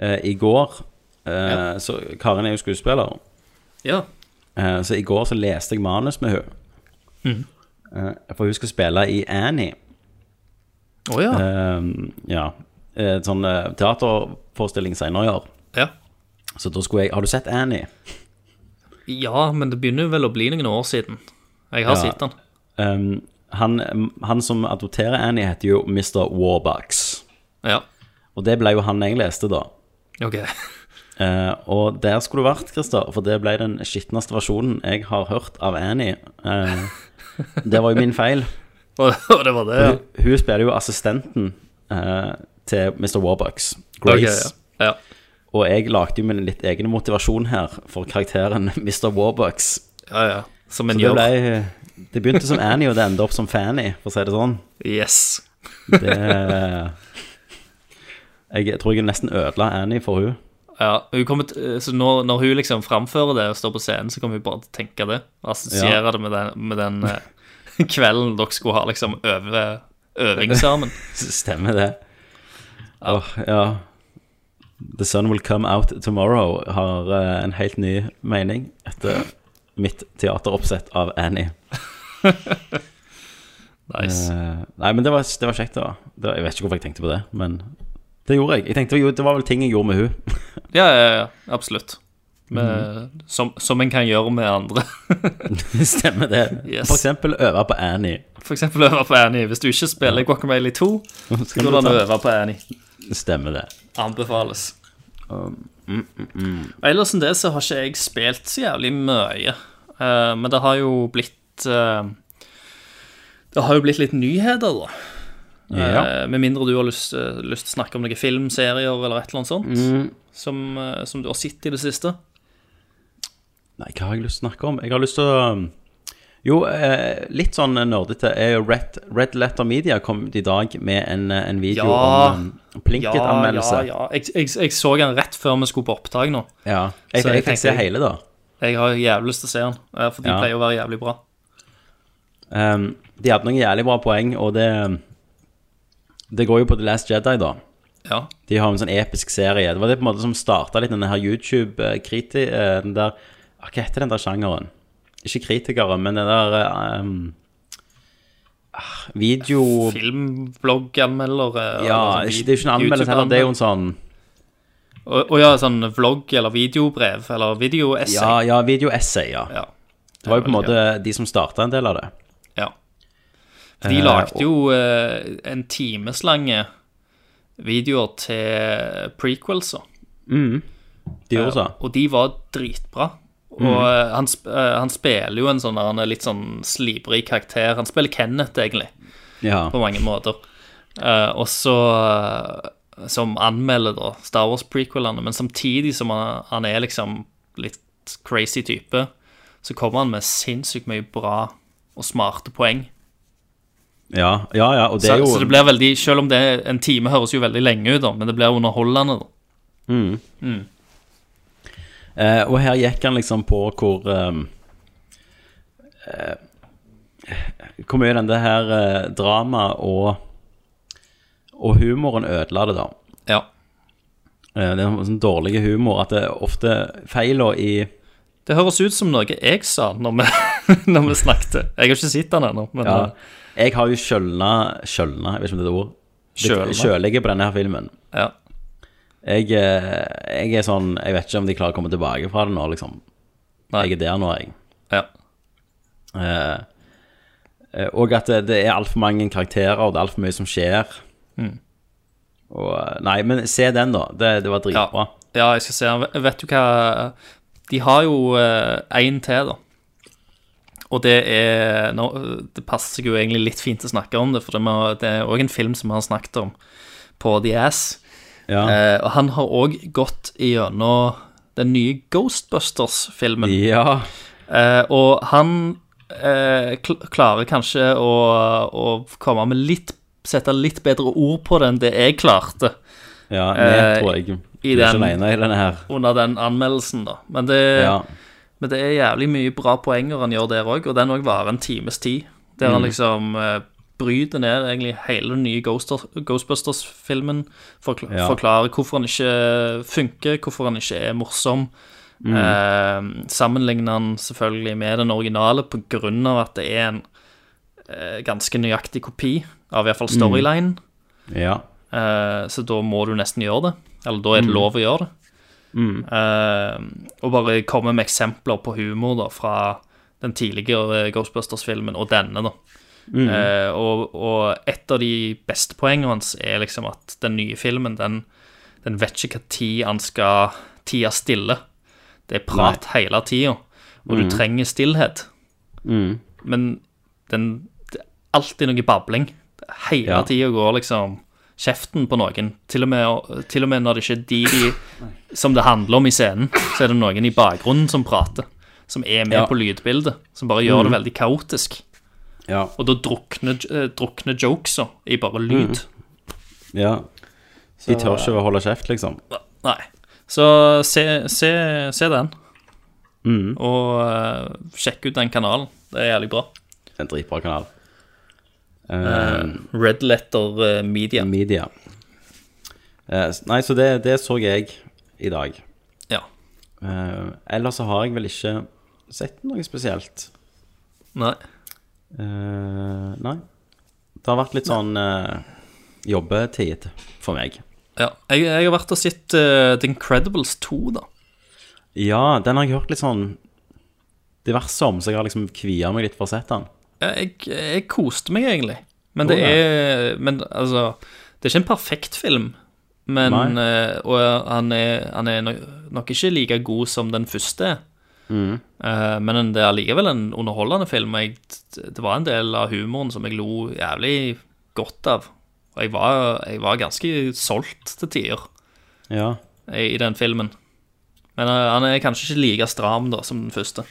Speaker 4: Eh, I går eh, Så Karin er jo skuespiller.
Speaker 5: Ja.
Speaker 4: Eh, Så i går så leste jeg manus med hun Eh, For hun skal spille i Annie
Speaker 5: Å ja.
Speaker 4: Eh, Ja Eh, En sånn eh, teaterforestilling senere i år
Speaker 5: ja.
Speaker 4: Så da skulle jeg Har du sett Annie?
Speaker 5: Ja, men det begynner jo vel å bli noen år siden. Jeg har
Speaker 4: Ja.
Speaker 5: sett den.
Speaker 4: Eh, han, han som adopterer Annie heter jo Mr. Warbucks
Speaker 5: Ja.
Speaker 4: Og det ble jo han jeg leste da
Speaker 5: OK.
Speaker 4: Eh, og der skulle du vært, Christer, for det ble den skitneste versjonen jeg har hørt av Annie. Eh, det var jo min feil.
Speaker 5: Og det var det, ja.
Speaker 4: Hun, hun spiller jo assistenten eh, til Mr. Warbucks, Grace.
Speaker 5: Ok, ja. ja.
Speaker 4: Og jeg lagde jo min litt egen motivasjon her for karakteren Mr. Warbucks.
Speaker 5: Ja, ja. Som en
Speaker 4: Det,
Speaker 5: gjør.
Speaker 4: ble, det begynte som Annie, og det endte opp som Fanny, for å si det sånn.
Speaker 5: Yes.
Speaker 4: Det, jeg tror jeg nesten ødela Annie for hun
Speaker 5: Ja, hun kommer til, så når, når hun liksom framfører det og står på scenen, så kommer hun bare til å tenke det. og Assosiere
Speaker 4: Ja.
Speaker 5: det med den, med den eh, kvelden dere skulle ha liksom øve, øving sammen.
Speaker 4: Stemmer det. Åh, ja. The Sun Will Come Out Tomorrow har eh, en helt ny mening etter mitt teateroppsett av Annie.
Speaker 5: Nice.
Speaker 4: Eh, nei, men det var, det var kjekt, da. Det var, jeg vet ikke hvorfor jeg tenkte på det, men det gjorde jeg. jeg tenkte, jo, det var vel ting jeg gjorde med hun
Speaker 5: Ja, ja, ja. Absolutt. Med,
Speaker 4: Mhm.
Speaker 5: som, som en kan gjøre med andre.
Speaker 4: Stemmer det.
Speaker 5: Yes.
Speaker 4: For eksempel øve på Annie.
Speaker 5: For eksempel øve på Annie. Hvis du ikke spiller Guacamole 2, så
Speaker 4: du
Speaker 5: går det an å
Speaker 4: ta-
Speaker 5: øve på Annie.
Speaker 4: Stemmer det.
Speaker 5: Anbefales.
Speaker 4: Um, mm,
Speaker 5: Og Ellers enn det så har ikke jeg spilt så jævlig mye. Eh, men det har jo blitt eh, Det har jo blitt litt nyheter, da.
Speaker 4: Ja.
Speaker 5: Eh, med mindre du har lyst, eh, lyst til å snakke om noen film, serier eller et eller annet sånt
Speaker 4: Mm.
Speaker 5: som, eh, som du har sett i det siste.
Speaker 4: Nei, hva har jeg lyst til å snakke om? Jeg har lyst til å um, Jo, eh, litt sånn nerdete er jo Red, Red Letter Media kom ut i dag med en, eh, en video
Speaker 5: Ja.
Speaker 4: om um, Plinket-anmeldelse.
Speaker 5: ja, ja. Jeg, jeg, jeg så den rett før vi skulle på opptak nå.
Speaker 4: Ja. Jeg,
Speaker 5: Så
Speaker 4: jeg,
Speaker 5: jeg
Speaker 4: fikk se
Speaker 5: tenkte-
Speaker 4: hele, da.
Speaker 5: Jeg har jævlig lyst til å se den, eh, for de
Speaker 4: Ja.
Speaker 5: pleier å være jævlig bra.
Speaker 4: Um, de hadde noen jævlig bra poeng, og det Det går jo på The Last Jedi, da.
Speaker 5: Ja.
Speaker 4: De har en sånn episk serie. Det var det på en måte som starta litt denne her YouTube-kriti... Den der ah, Hva heter den der sjangeren? Ikke kritikere, men den der eh, um, ah, Video...
Speaker 5: Filmblogganmeldere. og
Speaker 4: Ja,
Speaker 5: sånn
Speaker 4: ikke, det er jo ikke en anmeldelse heller. Det er jo en sånn
Speaker 5: YouTube-anmeld- Og, og ja, sånn vlogg eller videobrev eller
Speaker 4: Ja,
Speaker 5: videoessay.
Speaker 4: ja video-essay, ja.
Speaker 5: Ja.
Speaker 4: Det var jo på
Speaker 5: veldig
Speaker 4: en måte de som starta en del av det.
Speaker 5: Ja. For de
Speaker 4: Eh,
Speaker 5: lagde jo eh, en timeslange videoer til prequelser.
Speaker 4: De gjorde så. Mhm.
Speaker 5: Og de var dritbra. Og eh, han, sp eh, han spiller jo en sånn der, han er litt sånn slibrig karakter. Han spiller Kenneth, egentlig,
Speaker 4: Ja.
Speaker 5: på mange måter. Eh, og så eh, Som anmelder da Star Wars-prequelene, men samtidig som han, han er liksom litt crazy type, så kommer han med sinnssykt mye bra og smarte poeng.
Speaker 4: Ja, ja, ja, og det
Speaker 5: så,
Speaker 4: er jo
Speaker 5: så det blir veldig, selv om det er en time høres jo veldig lenge ut, da, men det blir underholdende. da.
Speaker 4: Eh, og her gikk han liksom på hvor ehm, eh, Hvor mye den det her eh, drama og, og humoren ødela det, da.
Speaker 5: Ja.
Speaker 4: Eh, det er en sånn dårlig humor at det ofte feila i
Speaker 5: Det høres ut som noe jeg sa når vi, når vi snakket. Jeg har ikke sett den ennå, men eh,
Speaker 4: ja,
Speaker 5: ja.
Speaker 4: Jeg har jo kjølna Kjølna, jeg vet ikke om det er et ord.
Speaker 5: Kjølna?
Speaker 4: Kjølige på denne her filmen.
Speaker 5: ja.
Speaker 4: Jeg, eh, jeg er sånn Jeg vet ikke om de klarer å komme tilbake fra det nå, liksom.
Speaker 5: Nei.
Speaker 4: Jeg er der nå, jeg.
Speaker 5: ja.
Speaker 4: Eh, eh, og at det, det er altfor mange karakterer, og det er altfor mye som skjer.
Speaker 5: Mm.
Speaker 4: Og, eh, nei, men se den, da. Det, det var
Speaker 5: Ja.
Speaker 4: dritbra.
Speaker 5: ja, jeg skal se. den. Vet du hva De har jo én til, da. Og det er nå, Det passer seg jo egentlig litt fint å snakke om det, for det må- det er òg en film som vi har snakket om på The Ass.
Speaker 4: Ja.
Speaker 5: Eh, og han har òg gått gjennom den nye Ghostbusters-filmen.
Speaker 4: ja.
Speaker 5: Eh, og han eh, kl klarer kanskje å, å komme med litt Sette litt bedre ord på det enn det jeg klarte
Speaker 4: ja jeg
Speaker 5: Eh,
Speaker 4: tror jeg.
Speaker 5: i
Speaker 4: Jeg er ikke
Speaker 5: den- Eh.
Speaker 4: alene i denne her.
Speaker 5: under den anmeldelsen, da. Men det,
Speaker 4: Ja.
Speaker 5: men det er jævlig mye bra poenger han gjør der òg, og den òg varer en times tid. Der han liksom eh, bryter ned egentlig hele den nye Ghoster- Ghostbusters-filmen. Forkl
Speaker 4: Ja.
Speaker 5: Forklarer hvorfor han ikke funker, hvorfor han ikke er morsom. Eh, sammenligner han selvfølgelig med den originale på grunn av at det er en eh, ganske nøyaktig kopi av iallfall storyline.
Speaker 4: ja.
Speaker 5: Eh, så da må du nesten gjøre det. Eller da er det lov å gjøre det. Eh, og bare komme med eksempler på humor da, fra den tidligere Ghostbusters-filmen og denne. da.
Speaker 4: Mm.
Speaker 5: Eh, og, og et av de beste poengene hans er liksom at den nye filmen, den, den vet ikke hva tid han skal tida stille. Det er prat hele tida, og
Speaker 4: Mm.
Speaker 5: du trenger stillhet. Men den, det er alltid noe babling. Hele
Speaker 4: Ja.
Speaker 5: tida går liksom kjeften på noen. Til og, med, til og med når det ikke er de, de som det handler om i scenen, så er det noen i bakgrunnen som prater. Som er med
Speaker 4: Ja. Mm.
Speaker 5: på lydbildet. Som bare gjør det veldig kaotisk.
Speaker 4: Ja.
Speaker 5: Og da drukner, eh, drukner jokesa i bare lyd.
Speaker 4: ja. De tør ikke å holde kjeft, liksom.
Speaker 5: Nei. Så se, se, se den. Og eh, sjekk ut den kanalen. Det er jævlig bra.
Speaker 4: Det er En dritbra kanal. Eh,
Speaker 5: Red Letter eh, Media.
Speaker 4: media. Eh, s- nei, så det, det så jeg i dag.
Speaker 5: Ja.
Speaker 4: Eh, ellers så har jeg vel ikke sett noe spesielt.
Speaker 5: Nei.
Speaker 4: Eh, nei. Det har vært litt sånn eh, jobbetid for meg.
Speaker 5: Ja. Jeg, jeg har vært og sett eh, The Incredibles 2, da.
Speaker 4: Ja, den har jeg hørt litt sånn diverse om, så jeg har liksom kvia meg litt for å sett den.
Speaker 5: Ja, Jeg, jeg koste meg egentlig. Men det
Speaker 4: Gjorde
Speaker 5: er Men altså Det er ikke en perfekt film. Men eh, Og han er, han er no- nok ikke like god som den første er. Eh, men det er allikevel en underholdende film. og Jeg, det var en del av humoren som jeg lo jævlig godt av. Og jeg var, jeg var ganske solgt til tider
Speaker 4: Ja.
Speaker 5: i, i den filmen. Men eh, han er kanskje ikke like stram da som den første.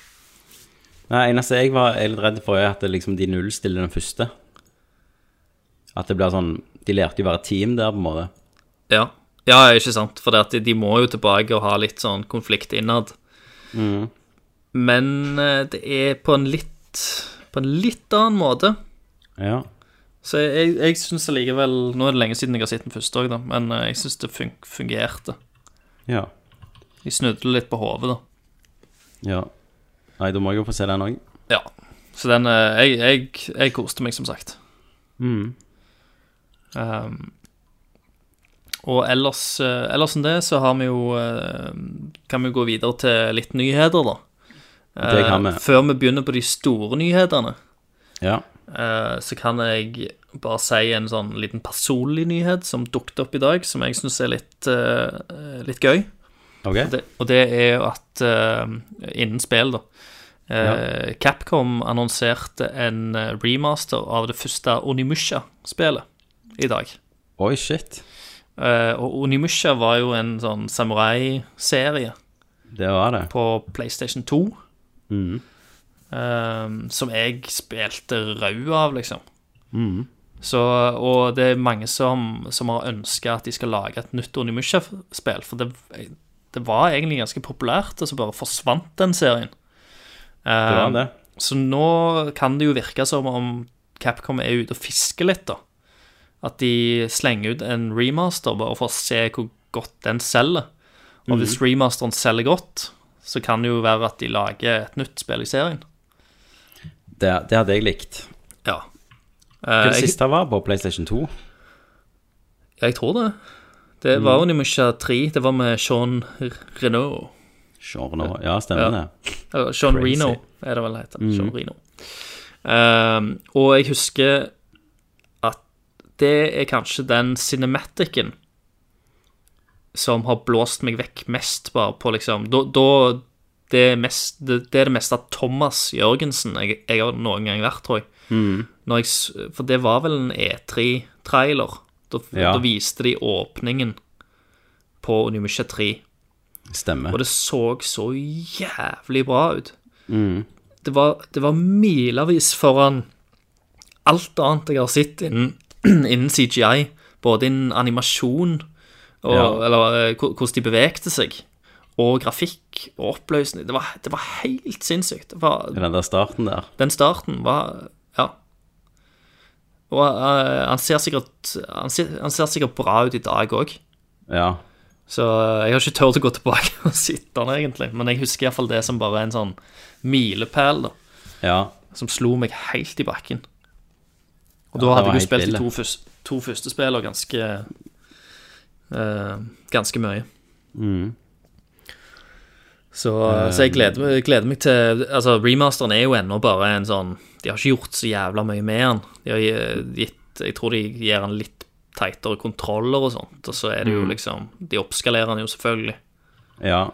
Speaker 4: Nei, eneste jeg var litt redd for, er at det liksom de nullstiller den første. At det blir sånn De lærte jo å være et team der, på en måte.
Speaker 5: Ja, ja ikke sant? For det at de, de må jo tilbake og ha litt sånn konflikt innad.
Speaker 4: Mm.
Speaker 5: Men eh, det er på en litt På en litt annen måte.
Speaker 4: Ja.
Speaker 5: Så jeg, jeg syns allikevel Nå er det lenge siden jeg har sett den første òg, da, men eh, jeg syns det fun fungerte.
Speaker 4: Ja.
Speaker 5: Jeg snudde litt på hodet, da.
Speaker 4: ja. Nei, da må jeg jo få se den òg.
Speaker 5: Ja. Så den eh, Jeg, jeg, jeg koste meg, som sagt.
Speaker 4: Mm.
Speaker 5: Ehm, og ellers, eh, ellers enn det så har vi jo eh, Kan vi gå videre til litt nyheter, da.
Speaker 4: Det kan vi.
Speaker 5: Eh, før vi begynner på de store nyhetene,
Speaker 4: Ja.
Speaker 5: eh, så kan jeg bare si en sånn liten personlig nyhet som dukket opp i dag, som jeg syns er litt, eh, litt gøy.
Speaker 4: OK.
Speaker 5: Og det, og det er jo at eh, innen spill, da eh, Capcom annonserte en eh, remaster av det første Onimusha-spelet i dag.
Speaker 4: Oi, shit.
Speaker 5: Eh, og Onimusha var jo en sånn samurai-serie
Speaker 4: Det var det.
Speaker 5: på PlayStation 2
Speaker 4: Mm.
Speaker 5: eh, som jeg spilte rau av, liksom.
Speaker 4: Mm.
Speaker 5: Så, og det er mange som, som har ønska at de skal lage et nytt Onimusha-spill, for det, det var egentlig ganske populært, og så bare forsvant den serien. Ehm,
Speaker 4: Det var det.
Speaker 5: Så nå kan det jo virke som om Capcom er ute og fisker litt, da. At de slenger ut en remaster bare for å se hvor godt den selger. Og hvis remasteren selger godt, så kan det jo være at de lager et nytt spill i serien.
Speaker 4: Det, det hadde jeg likt.
Speaker 5: Ja.
Speaker 4: Hva det
Speaker 5: Eh, jeg,
Speaker 4: siste var på PlayStation 2?
Speaker 5: jeg tror det. Det var Onimusha 3. Det var med Sean Renault.
Speaker 4: Sure, nå. Ja,
Speaker 5: Ja.
Speaker 4: stemmer det.
Speaker 5: Eller Sean
Speaker 4: Crazy. Mm.
Speaker 5: Reno, er det vel det heter. Sean Reno. Ehm, og jeg husker at det er kanskje den cinematicen som har blåst meg vekk mest, bare på liksom Da, da det, er mest, det, det er det meste av Thomas Jørgensen jeg, jeg har noen gang vært, tror jeg.
Speaker 4: Mm.
Speaker 5: Når jeg. s- For det var vel en E3-trailer. Da,
Speaker 4: Ja.
Speaker 5: da viste de åpningen på Unimusha 3.
Speaker 4: Stemmer.
Speaker 5: Og det så så jævlig bra ut. Det, var, det var milevis foran alt annet jeg har sett innen, innen CGI. Både innen animasjon, og,
Speaker 4: Ja.
Speaker 5: eller eh, hvor- hvordan de bevegte seg, og grafikk og oppløsning. Det var, det var helt sinnssykt. Det var,
Speaker 4: Den der starten der.
Speaker 5: den starten var Ja. Og eh, han, ser sikkert, han, ser, han ser sikkert bra ut i dag òg.
Speaker 4: Ja.
Speaker 5: Så eh, jeg har ikke tørt å gå tilbake og sitte den, egentlig. Men jeg husker iallfall det som bare en sånn milepæl, da.
Speaker 4: Ja.
Speaker 5: Som slo meg helt i bakken. Og da hadde
Speaker 4: Ja, det
Speaker 5: jeg
Speaker 4: var
Speaker 5: jo
Speaker 4: helt
Speaker 5: spilt de
Speaker 4: ille.
Speaker 5: to, først, to første spillene ganske eh, Ganske mye.
Speaker 4: Mm.
Speaker 5: Så,
Speaker 4: Eh,
Speaker 5: så jeg gleder meg, gleder meg til Altså, remasteren er jo ennå bare en sånn De har ikke gjort så jævla mye med den. De har gi- gitt Jeg tror de gir den litt teitere kontroller og sånt, og så er det
Speaker 4: Mm.
Speaker 5: jo liksom De oppskalerer den jo selvfølgelig.
Speaker 4: Ja.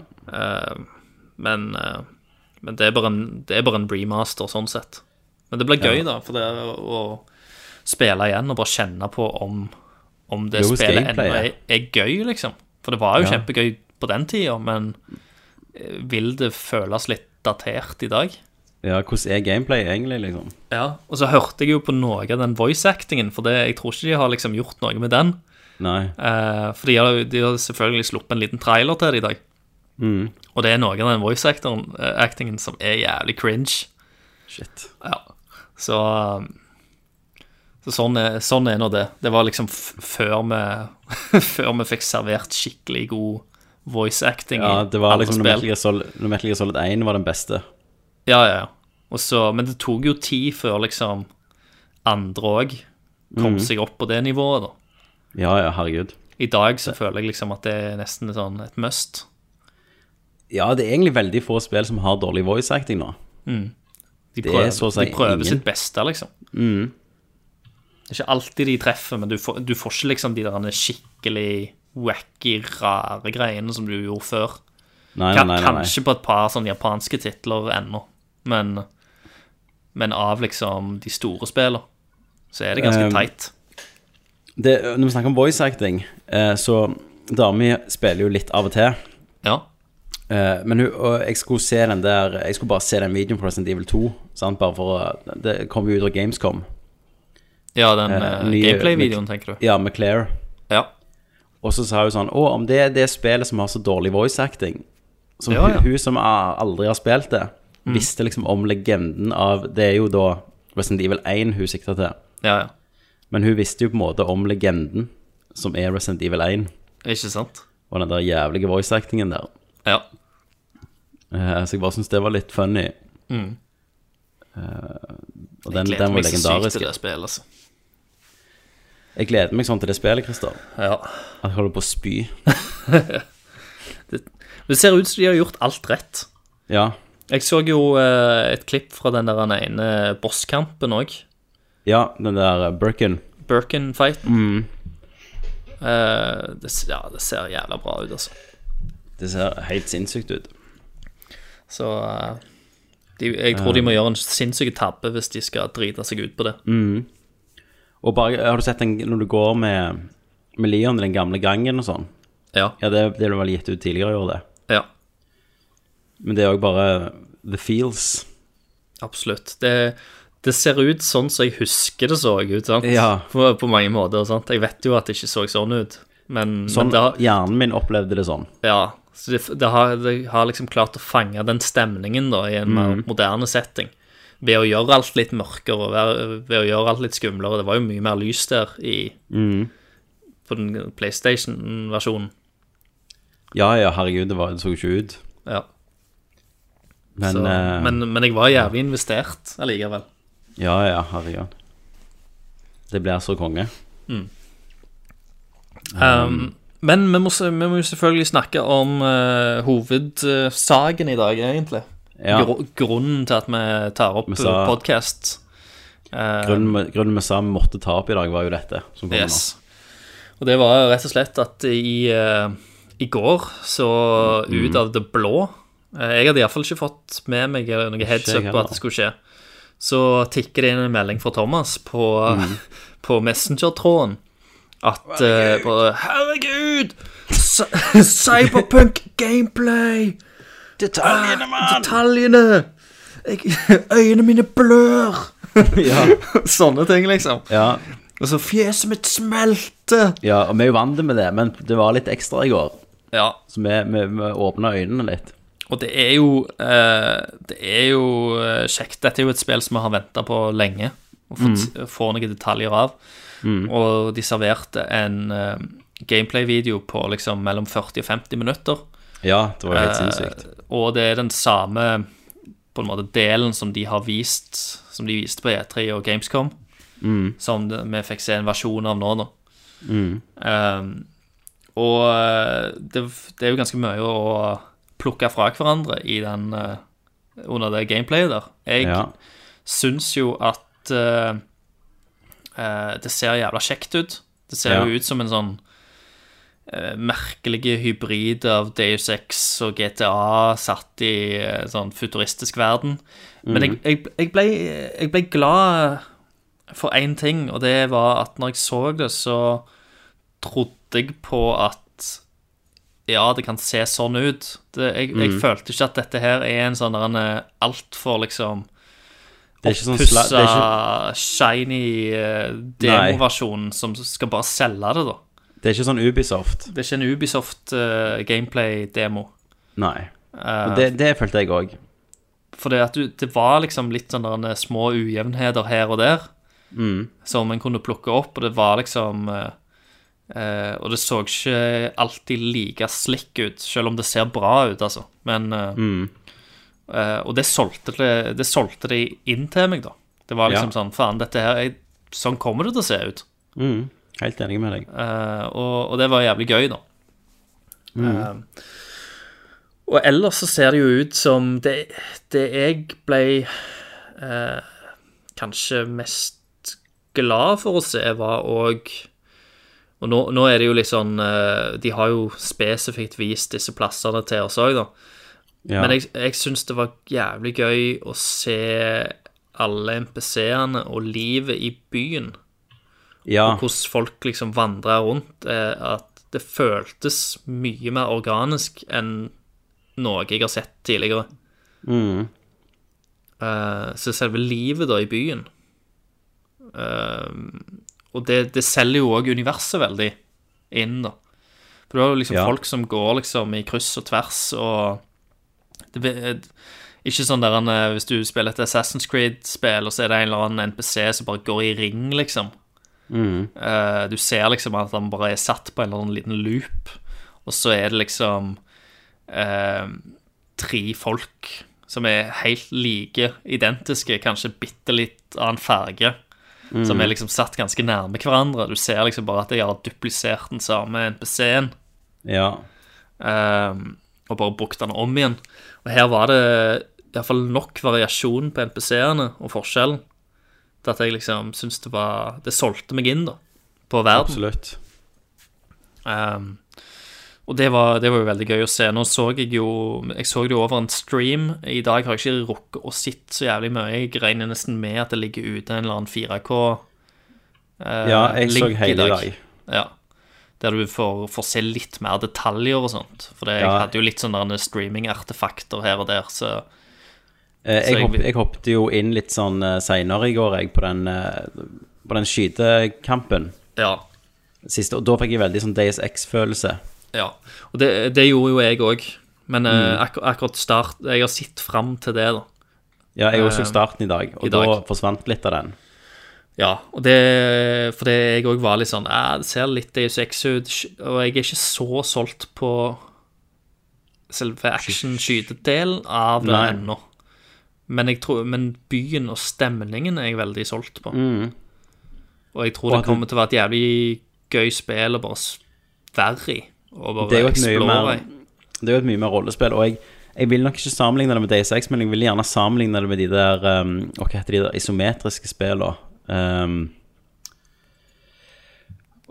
Speaker 5: Men, eh, men det, er bare en, det er bare en remaster, sånn sett. Men det blir gøy, da, for det er å, å spille igjen og bare kjenne på om, om det
Speaker 4: Jo,
Speaker 5: spillet ennå
Speaker 4: gameplay,
Speaker 5: er, er gøy, liksom. For det var jo
Speaker 4: Ja.
Speaker 5: kjempegøy på den tida, men eh, vil det føles litt datert i dag?
Speaker 4: ja. Hvordan er gameplay egentlig, liksom?
Speaker 5: Ja, og så hørte jeg jo på noe av den voice-actingen, for det, jeg tror ikke de har liksom gjort noe med den.
Speaker 4: Nei.
Speaker 5: Eh, for de har, de har selvfølgelig sluppet en liten trailer til det i dag.
Speaker 4: Mm.
Speaker 5: Og det er noe av den voice-actingen som er jævlig cringe.
Speaker 4: Shit.
Speaker 5: Ja. Så, um, så sånn, er, sånn er nå det. Det var liksom f før vi Før vi fikk servert skikkelig god voice acting. i
Speaker 4: Ja, det var
Speaker 5: alle
Speaker 4: liksom når
Speaker 5: spill.
Speaker 4: Metal Gear Solid, når Metal Gear Solid 1 var den beste.
Speaker 5: Ja, ja, ja. Og så, men det tok jo tid før liksom andre òg kom
Speaker 4: Mhm.
Speaker 5: seg opp på det nivået, da.
Speaker 4: Ja, ja, herregud.
Speaker 5: I dag så føler jeg liksom at det er nesten sånn et must.
Speaker 4: Ja, det er egentlig veldig få spill som har dårlig voice acting nå.
Speaker 5: De
Speaker 4: Det er
Speaker 5: prøver,
Speaker 4: så å si
Speaker 5: de prøver
Speaker 4: ingen. Mm.
Speaker 5: sitt beste, liksom. Det er ikke alltid de treffer, men du får, du får ikke liksom de der skikkelig wacky, rare greiene som du gjorde før.
Speaker 4: Nei, nei,
Speaker 5: Kan,
Speaker 4: nei. nei, nei.
Speaker 5: Kanskje på et par sånne japanske titler ennå, men, men av liksom de store spillene, så er det ganske
Speaker 4: Um,
Speaker 5: teit.
Speaker 4: Det, når vi snakker om voice acting, eh, så Dami spiller jo litt av og til.
Speaker 5: Ja.
Speaker 4: Eh, men hun, og jeg skulle se den der Jeg skulle bare se den videoen på Resident Evil 2. Sant? Bare for å Det kom jo ut av Gamescom.
Speaker 5: ja, den
Speaker 4: eh,
Speaker 5: eh,
Speaker 4: nye-
Speaker 5: gameplay-videoen, tenker du.
Speaker 4: Ja, med Claire.
Speaker 5: Ja.
Speaker 4: Og så sa hun sånn Å, om det er det spillet som har så dårlig voice acting Som
Speaker 5: Ja,
Speaker 4: hun-
Speaker 5: ja. Mm.
Speaker 4: hun som a- aldri har spilt det, visste liksom om legenden av Det er jo da Resident Evil 1 hun sikta til.
Speaker 5: ja, ja.
Speaker 4: Men hun visste jo på en måte om legenden som er Resident Evil 1,
Speaker 5: Ikke sant?
Speaker 4: og den der jævlige voice-actingen der.
Speaker 5: Ja.
Speaker 4: Eh, så jeg bare syns det var litt funny. Eh, og den,
Speaker 5: Mm. Gleder
Speaker 4: den var
Speaker 5: meg så sykt
Speaker 4: legendarisk.
Speaker 5: til det spillet, altså.
Speaker 4: Jeg gleder meg sånn til det spillet, Christer.
Speaker 5: Ja.
Speaker 4: At jeg holder på å spy.
Speaker 5: Det ser ut som de har gjort alt rett.
Speaker 4: Ja.
Speaker 5: Jeg så jo eh, et klipp fra den der den ene bosskampen òg.
Speaker 4: Ja, den der eh, Birkin.
Speaker 5: Birkin-fighten.
Speaker 4: Mm.
Speaker 5: Eh, det, s- ja, det ser jævla bra ut, altså.
Speaker 4: Det ser helt sinnssykt ut.
Speaker 5: Så eh, de, jeg tror
Speaker 4: Eh.
Speaker 5: de må gjøre en sinnssyk tabbe hvis de skal drite seg ut på det.
Speaker 4: Mm. Og bare, har du sett den når du går med, med Leon i den gamle gangen og sånn?
Speaker 5: Ja,
Speaker 4: Ja, det, det ble vel gitt ut tidligere i år, det.
Speaker 5: ja,
Speaker 4: Men det er òg bare the feels.
Speaker 5: absolutt. Det, det ser ut sånn som jeg husker det så ut, sant?
Speaker 4: Ja.
Speaker 5: På, på mange måter. sant? Jeg vet jo at det ikke så sånn ut, men,
Speaker 4: Sånn,
Speaker 5: men det, har,
Speaker 4: Hjernen min opplevde det sånn.
Speaker 5: ja, så det, det, har, det har liksom klart å fange den stemningen da, i en
Speaker 4: Mm.
Speaker 5: mer moderne setting. Ved å gjøre alt litt mørkere og være- ved å gjøre alt litt skumlere. Det var jo mye mer lys der i,
Speaker 4: Mm.
Speaker 5: på den PlayStation-versjonen.
Speaker 4: Ja ja, herregud, det, var, det så jo ikke ut.
Speaker 5: Ja.
Speaker 4: Men,
Speaker 5: så,
Speaker 4: eh,
Speaker 5: men, men jeg var jævlig investert allikevel.
Speaker 4: Ja ja, herregud. Det blir så konge.
Speaker 5: Um, men vi må, se- vi må jo selvfølgelig snakke om eh, hovedsaken i dag, egentlig.
Speaker 4: Ja,
Speaker 5: Gru- grunnen til at vi tar opp Eh,
Speaker 4: Vi sa-
Speaker 5: podkast.
Speaker 4: grunnen, vi- grunnen vi sa vi måtte ta opp i dag, var jo dette. Som kommer
Speaker 5: Yes. Og det var rett og slett at i, eh, i går så ut av det blå eh, Jeg hadde iallfall ikke fått med meg noe heads
Speaker 4: Ikke
Speaker 5: up
Speaker 4: jeg
Speaker 5: på at det skulle skje. Så tikker det inn en melding fra Thomas på, på Messenger-tråden at eh, bare, Herregud! Cy- Cyberpunk gameplay! Detaljene, mann! Detaljene! Jeg, øynene mine blør!
Speaker 4: nå. Ja.
Speaker 5: Sånne ting, liksom.
Speaker 4: ja,
Speaker 5: Og så fjeset mitt smelter!
Speaker 4: ja, og vi er jo vant med det, men det var litt ekstra i går.
Speaker 5: Ja,
Speaker 4: Så vi, vi, vi åpna øynene litt.
Speaker 5: og det er jo eh, Det er jo eh, kjekt. Dette er jo et spill som vi har venta på lenge, og fått, får noen detaljer av. Og de serverte en eh, gameplay-video på liksom mellom 40 og 50 minutter.
Speaker 4: Ja, det var jo helt
Speaker 5: Eh,
Speaker 4: sinnssykt.
Speaker 5: Og det er den samme på en måte delen som de har vist Som de viste på E3 og Gamescom,
Speaker 4: Mm.
Speaker 5: som det- vi fikk se en versjon av nå, da. Um, og eh, det, det er jo ganske mye å plukke fra hverandre i den eh, under det gameplayet der. Jeg
Speaker 4: Ja.
Speaker 5: syns jo at eh, eh, det ser jævla kjekt ut. Det ser
Speaker 4: Ja.
Speaker 5: jo ut som en sånn eh, merkelig hybrid av Deus Ex og GTA satt i eh, sånn futuristisk verden. Men jeg, jeg, jeg, ble, jeg ble glad for én ting, og det var at når jeg så det, så trodde jeg på at ja, det kan se sånn ut. Det, jeg, jeg følte ikke at dette her er en sånn der en eh, altfor liksom
Speaker 4: Det er ikke sånn sla,
Speaker 5: pussa,
Speaker 4: det er ikke,
Speaker 5: shiny eh, demoversjon som skal bare selge det, da.
Speaker 4: det er ikke sånn Ubisoft.
Speaker 5: Det er ikke en Ubisoft eh, gameplay-demo.
Speaker 4: Nei.
Speaker 5: Eh,
Speaker 4: Og det, det følte jeg òg.
Speaker 5: for det, at du, det var liksom litt sånn der små ujevnheter her og der
Speaker 4: Mm,
Speaker 5: som en kunne plukke opp, og det var liksom eh, eh, Og det så ikke alltid like slick ut, selv om det ser bra ut, altså. Men eh,
Speaker 4: Mm.
Speaker 5: eh, Og det solgte det, det solgte de inn til meg, da. Det var liksom
Speaker 4: Ja.
Speaker 5: sånn Faen, dette her er, Sånn kommer det til å se ut.
Speaker 4: mm. Helt enig med deg.
Speaker 5: Eh, og, og det var jævlig gøy, da. Eh, og ellers så ser det jo ut som det, det jeg ble eh, kanskje mest glad for å se, var òg Og nå, nå er det jo litt sånn eh, De har jo spesifikt vist disse plassene til oss òg, da.
Speaker 4: Ja.
Speaker 5: Men jeg, jeg syns det var jævlig gøy å se alle MPC-ene og livet i byen
Speaker 4: ja.
Speaker 5: hvordan folk liksom vandra rundt, eh, at det føltes mye mer organisk enn noe jeg har sett tidligere. Eh, så selve livet da i byen eh, Og det, det selger jo òg universet veldig inn, da. For det er jo liksom
Speaker 4: Ja.
Speaker 5: folk som går liksom i kryss og tvers og det, be- eh, ikke sånn der han, eh, hvis du spiller et Assassin's Creed-spill, og så er det en eller annen NPC som bare går i ring, liksom.
Speaker 4: mm,
Speaker 5: Eh, du ser liksom at han bare er satt på en eller annen liten loop, og så er det liksom eh, tre folk som er helt like, identiske, kanskje bitte litt annen farge, som er liksom satt ganske nærme hverandre. Du ser liksom bare at de har duplisert den samme NPC-en.
Speaker 4: Ja.
Speaker 5: Ehm, og bare brukt den om igjen. Og her var det iallfall nok variasjon på NPC-ene og forskjellen til at jeg liksom syns det var Det solgte meg inn, da, på verden.
Speaker 4: Absolutt.
Speaker 5: Ehm, og det var, det var jo veldig gøy å se. Nå så jeg jo Jeg så det jo over en stream. I dag har jeg ikke rukket å sitte så jævlig mye. Jeg regner nesten med at det ligger ute en eller annen 4K. eh,
Speaker 4: Ja, jeg så
Speaker 5: link i
Speaker 4: hele i dag.
Speaker 5: ja. Der du får, får se litt mer detaljer og sånt. For det, jeg
Speaker 4: Ja.
Speaker 5: hadde jo litt sånne der streaming-artefakter her og der, så
Speaker 4: Eh,
Speaker 5: Så jeg
Speaker 4: jeg, hopp,
Speaker 5: vil-
Speaker 4: jeg hoppet jo inn litt sånn uh, seinere i går, jeg, på den, eh, på den skytekampen
Speaker 5: ja.
Speaker 4: siste. Og da fikk jeg veldig sånn Days X-følelse.
Speaker 5: ja. Og det, det gjorde jo jeg òg. Men
Speaker 4: Mm.
Speaker 5: eh, akkur akkurat start Jeg har sett fram til det, da.
Speaker 4: Ja, jeg også
Speaker 5: Eh,
Speaker 4: så starten i dag, og
Speaker 5: i dag.
Speaker 4: da forsvant litt av den.
Speaker 5: Ja, og det For det jeg òg var litt sånn «Eh, Det ser litt Deus Ex ut, sk- og jeg er ikke så solgt på selve action-skytedelen av det
Speaker 4: Nei.
Speaker 5: ennå. Men, jeg tror, men byen og stemningen er jeg veldig solgt på. Og jeg tror det
Speaker 4: Mm. Og at det-
Speaker 5: kommer til å være et jævlig gøy spill å bare s- være i. Og
Speaker 4: Det
Speaker 5: bare
Speaker 4: er jo et mye
Speaker 5: eksplore
Speaker 4: mer,
Speaker 5: i.
Speaker 4: det er jo et mye mer rollespill, og jeg, jeg vil nok ikke sammenligne det med Days X, men jeg vil gjerne sammenligne det med de der um, og Hva heter de der isometriske spillene? Um,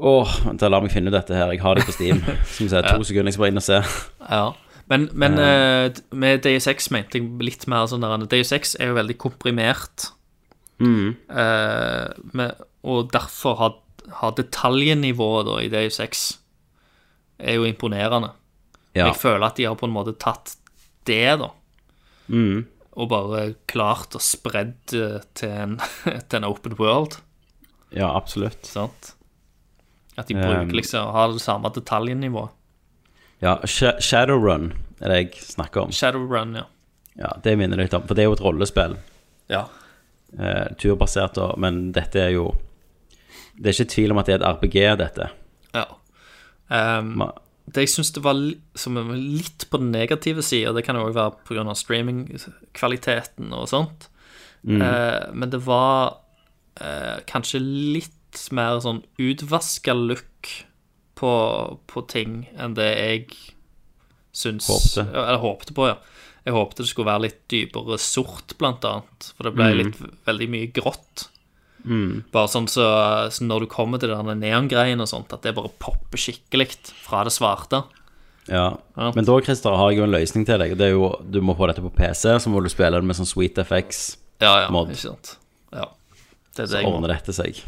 Speaker 4: Åh, vent, la meg finne ut dette her. Jeg har det på Steam. Som jeg sier, to sekunder, jeg skal bare inn og se.
Speaker 5: Ja. Men, men eh, med DSX mente jeg litt mer sånn der DSX er jo veldig komprimert. Mm. Eh, med, og derfor har, har detaljnivået da i DSX er jo imponerende.
Speaker 4: Ja.
Speaker 5: Jeg føler at de har på en måte tatt det, da.
Speaker 4: Mm.
Speaker 5: Og bare klart å spredd eh, til, en, til en open world.
Speaker 4: ja, absolutt.
Speaker 5: Sant? At de bruker
Speaker 4: Um,
Speaker 5: liksom har det samme detaljnivået.
Speaker 4: Ja, Sha- Shadowrun er det jeg snakker om.
Speaker 5: Shadowrun, ja.
Speaker 4: Ja, Det minner litt om, for det er jo et rollespill.
Speaker 5: ja.
Speaker 4: Eh, turbasert, da, men dette er jo Det er ikke tvil om at det er et RPG, dette.
Speaker 5: ja. Um,
Speaker 4: Ma-
Speaker 5: Det jeg syns det var li- som er litt på den negative sida, det kan jo òg være pga. streamingkvaliteten og sånt, eh, men det var eh, kanskje litt mer sånn utvaska look på, på ting enn det jeg syns
Speaker 4: Håpte.
Speaker 5: Ja, Eller håpte på, ja. Jeg håpte det skulle være litt dypere sort, blant annet, for det ble litt veldig mye grått. Bare sånn så, så når du kommer til den neongreien og sånt, at det bare popper skikkelig fra det svarte.
Speaker 4: Ja.
Speaker 5: Ja.
Speaker 4: Men da Christer, har jeg jo en løsning til deg. Det er jo, Du må få dette på PC, så må du spille det med sånn Sweet FX.
Speaker 5: Ja, ja,
Speaker 4: Mod.
Speaker 5: ikke sant. Ja. Det er
Speaker 4: Så
Speaker 5: det jeg må.
Speaker 4: ordner dette seg.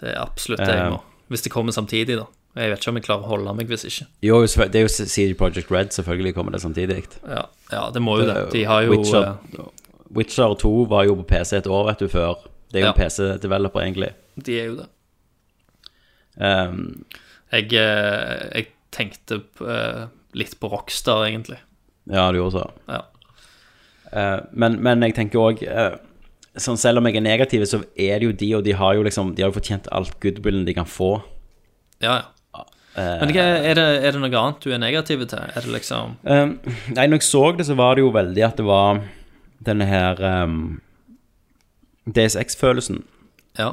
Speaker 5: Det er absolutt det jeg
Speaker 4: Eh.
Speaker 5: må. Hvis det kommer samtidig, da. Jeg vet ikke om jeg klarer å holde meg hvis ikke.
Speaker 4: Jo, selvfø- det er jo CD Project Red, selvfølgelig kommer det samtidig.
Speaker 5: Ja, ja det må jo det. De har jo
Speaker 4: Witcher,
Speaker 5: eh,
Speaker 4: Witcher 2 var jo på PC et år, vet du, før. Det er jo en
Speaker 5: Ja.
Speaker 4: PC-developer, egentlig.
Speaker 5: De er jo det.
Speaker 4: Ehm,
Speaker 5: Jeg, eh, jeg tenkte eh, litt på Rockstar, egentlig.
Speaker 4: ja, du gjorde så.
Speaker 5: Ja.
Speaker 4: Eh, men, men jeg tenker òg sånn Selv om jeg er negativ, så er det jo de, og de har jo liksom De har jo fortjent alt goodwillen de kan få.
Speaker 5: Ja, ja. Men hva- er det, er det noe annet du er negativ til? Er det liksom
Speaker 4: Um, nei, når jeg så det, så var det jo veldig at det var denne her um, DSX-følelsen.
Speaker 5: Ja.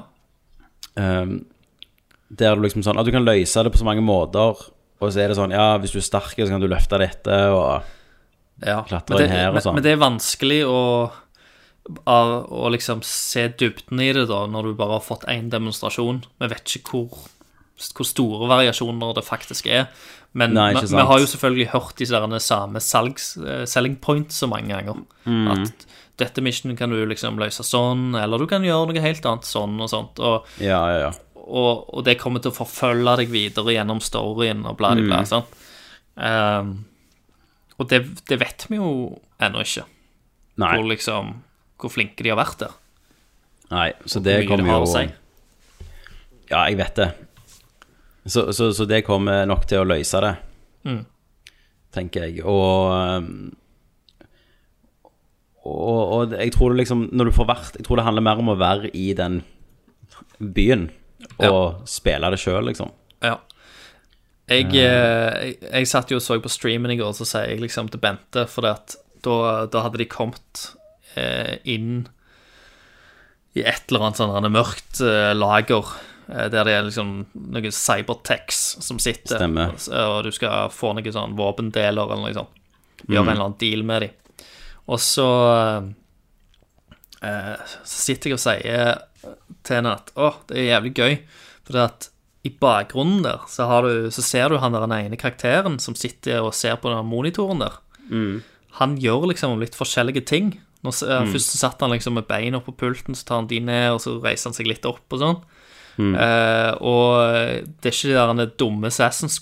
Speaker 4: Um, der du liksom sånn At du kan løse det på så mange måter. Og så er det sånn Ja, hvis du er sterk, så kan du løfte dette, og
Speaker 5: ja. Men
Speaker 4: Klatre
Speaker 5: det-
Speaker 4: inn her og
Speaker 5: men-
Speaker 4: sånn.
Speaker 5: Men det er vanskelig å, av- å liksom se dybden i det, da, når du bare har fått én demonstrasjon. Vi vet ikke hvor, hvor store variasjoner det faktisk er. Men
Speaker 4: Nei, ikke
Speaker 5: vi, vi
Speaker 4: sant.
Speaker 5: har jo selvfølgelig hørt de der samme salgs, eh, selling points så mange ganger.
Speaker 4: Mm.
Speaker 5: At dette missionet kan du liksom løse sånn, eller du kan gjøre noe helt annet sånn og sånt. Og,
Speaker 4: Ja, ja, ja.
Speaker 5: og, og det kommer til å forfølge deg videre gjennom storyen og bla, bla,
Speaker 4: Mm.
Speaker 5: bla. Sant? Ehm, og det, det vet vi jo ennå ikke,
Speaker 4: Nei.
Speaker 5: hvor, liksom, hvor flinke de har vært der.
Speaker 4: nei så
Speaker 5: Hvor
Speaker 4: det
Speaker 5: mye
Speaker 4: kommer
Speaker 5: har å
Speaker 4: jo
Speaker 5: si.
Speaker 4: Ja, jeg vet det. Så, så, så det kommer nok til å løse det,
Speaker 5: Mm.
Speaker 4: tenker jeg. Og, um, og, og jeg tror det liksom Når du får vært Jeg tror det handler mer om å være i den byen og
Speaker 5: Ja.
Speaker 4: spille det sjøl, liksom.
Speaker 5: Ja. Jeg, eh, jeg, jeg satt jo og så på streamen i går, så sier jeg liksom til Bente, for at da, da hadde de kommet eh, inn i et eller annet sånn her mørkt eh, lager, eh, der det er liksom noen cybertex som sitter,
Speaker 4: Stemmer.
Speaker 5: Og, og du skal få noen sånn våpendeler eller noe sånt. Gjøre en eller annen deal med dem. Og så eh, eh, så sitter jeg og sier til henne at å, det er jævlig gøy. For det at i bakgrunnen der så, har du, så ser du han der den ene karakteren som sitter og ser på den monitoren der. Han gjør liksom litt forskjellige ting. Nå, s- eh, Først så satt han liksom med beina på pulten, så tar han de ned, og så reiser han seg litt opp og sånn. Eh, og det er ikke de der den dumme Assassin's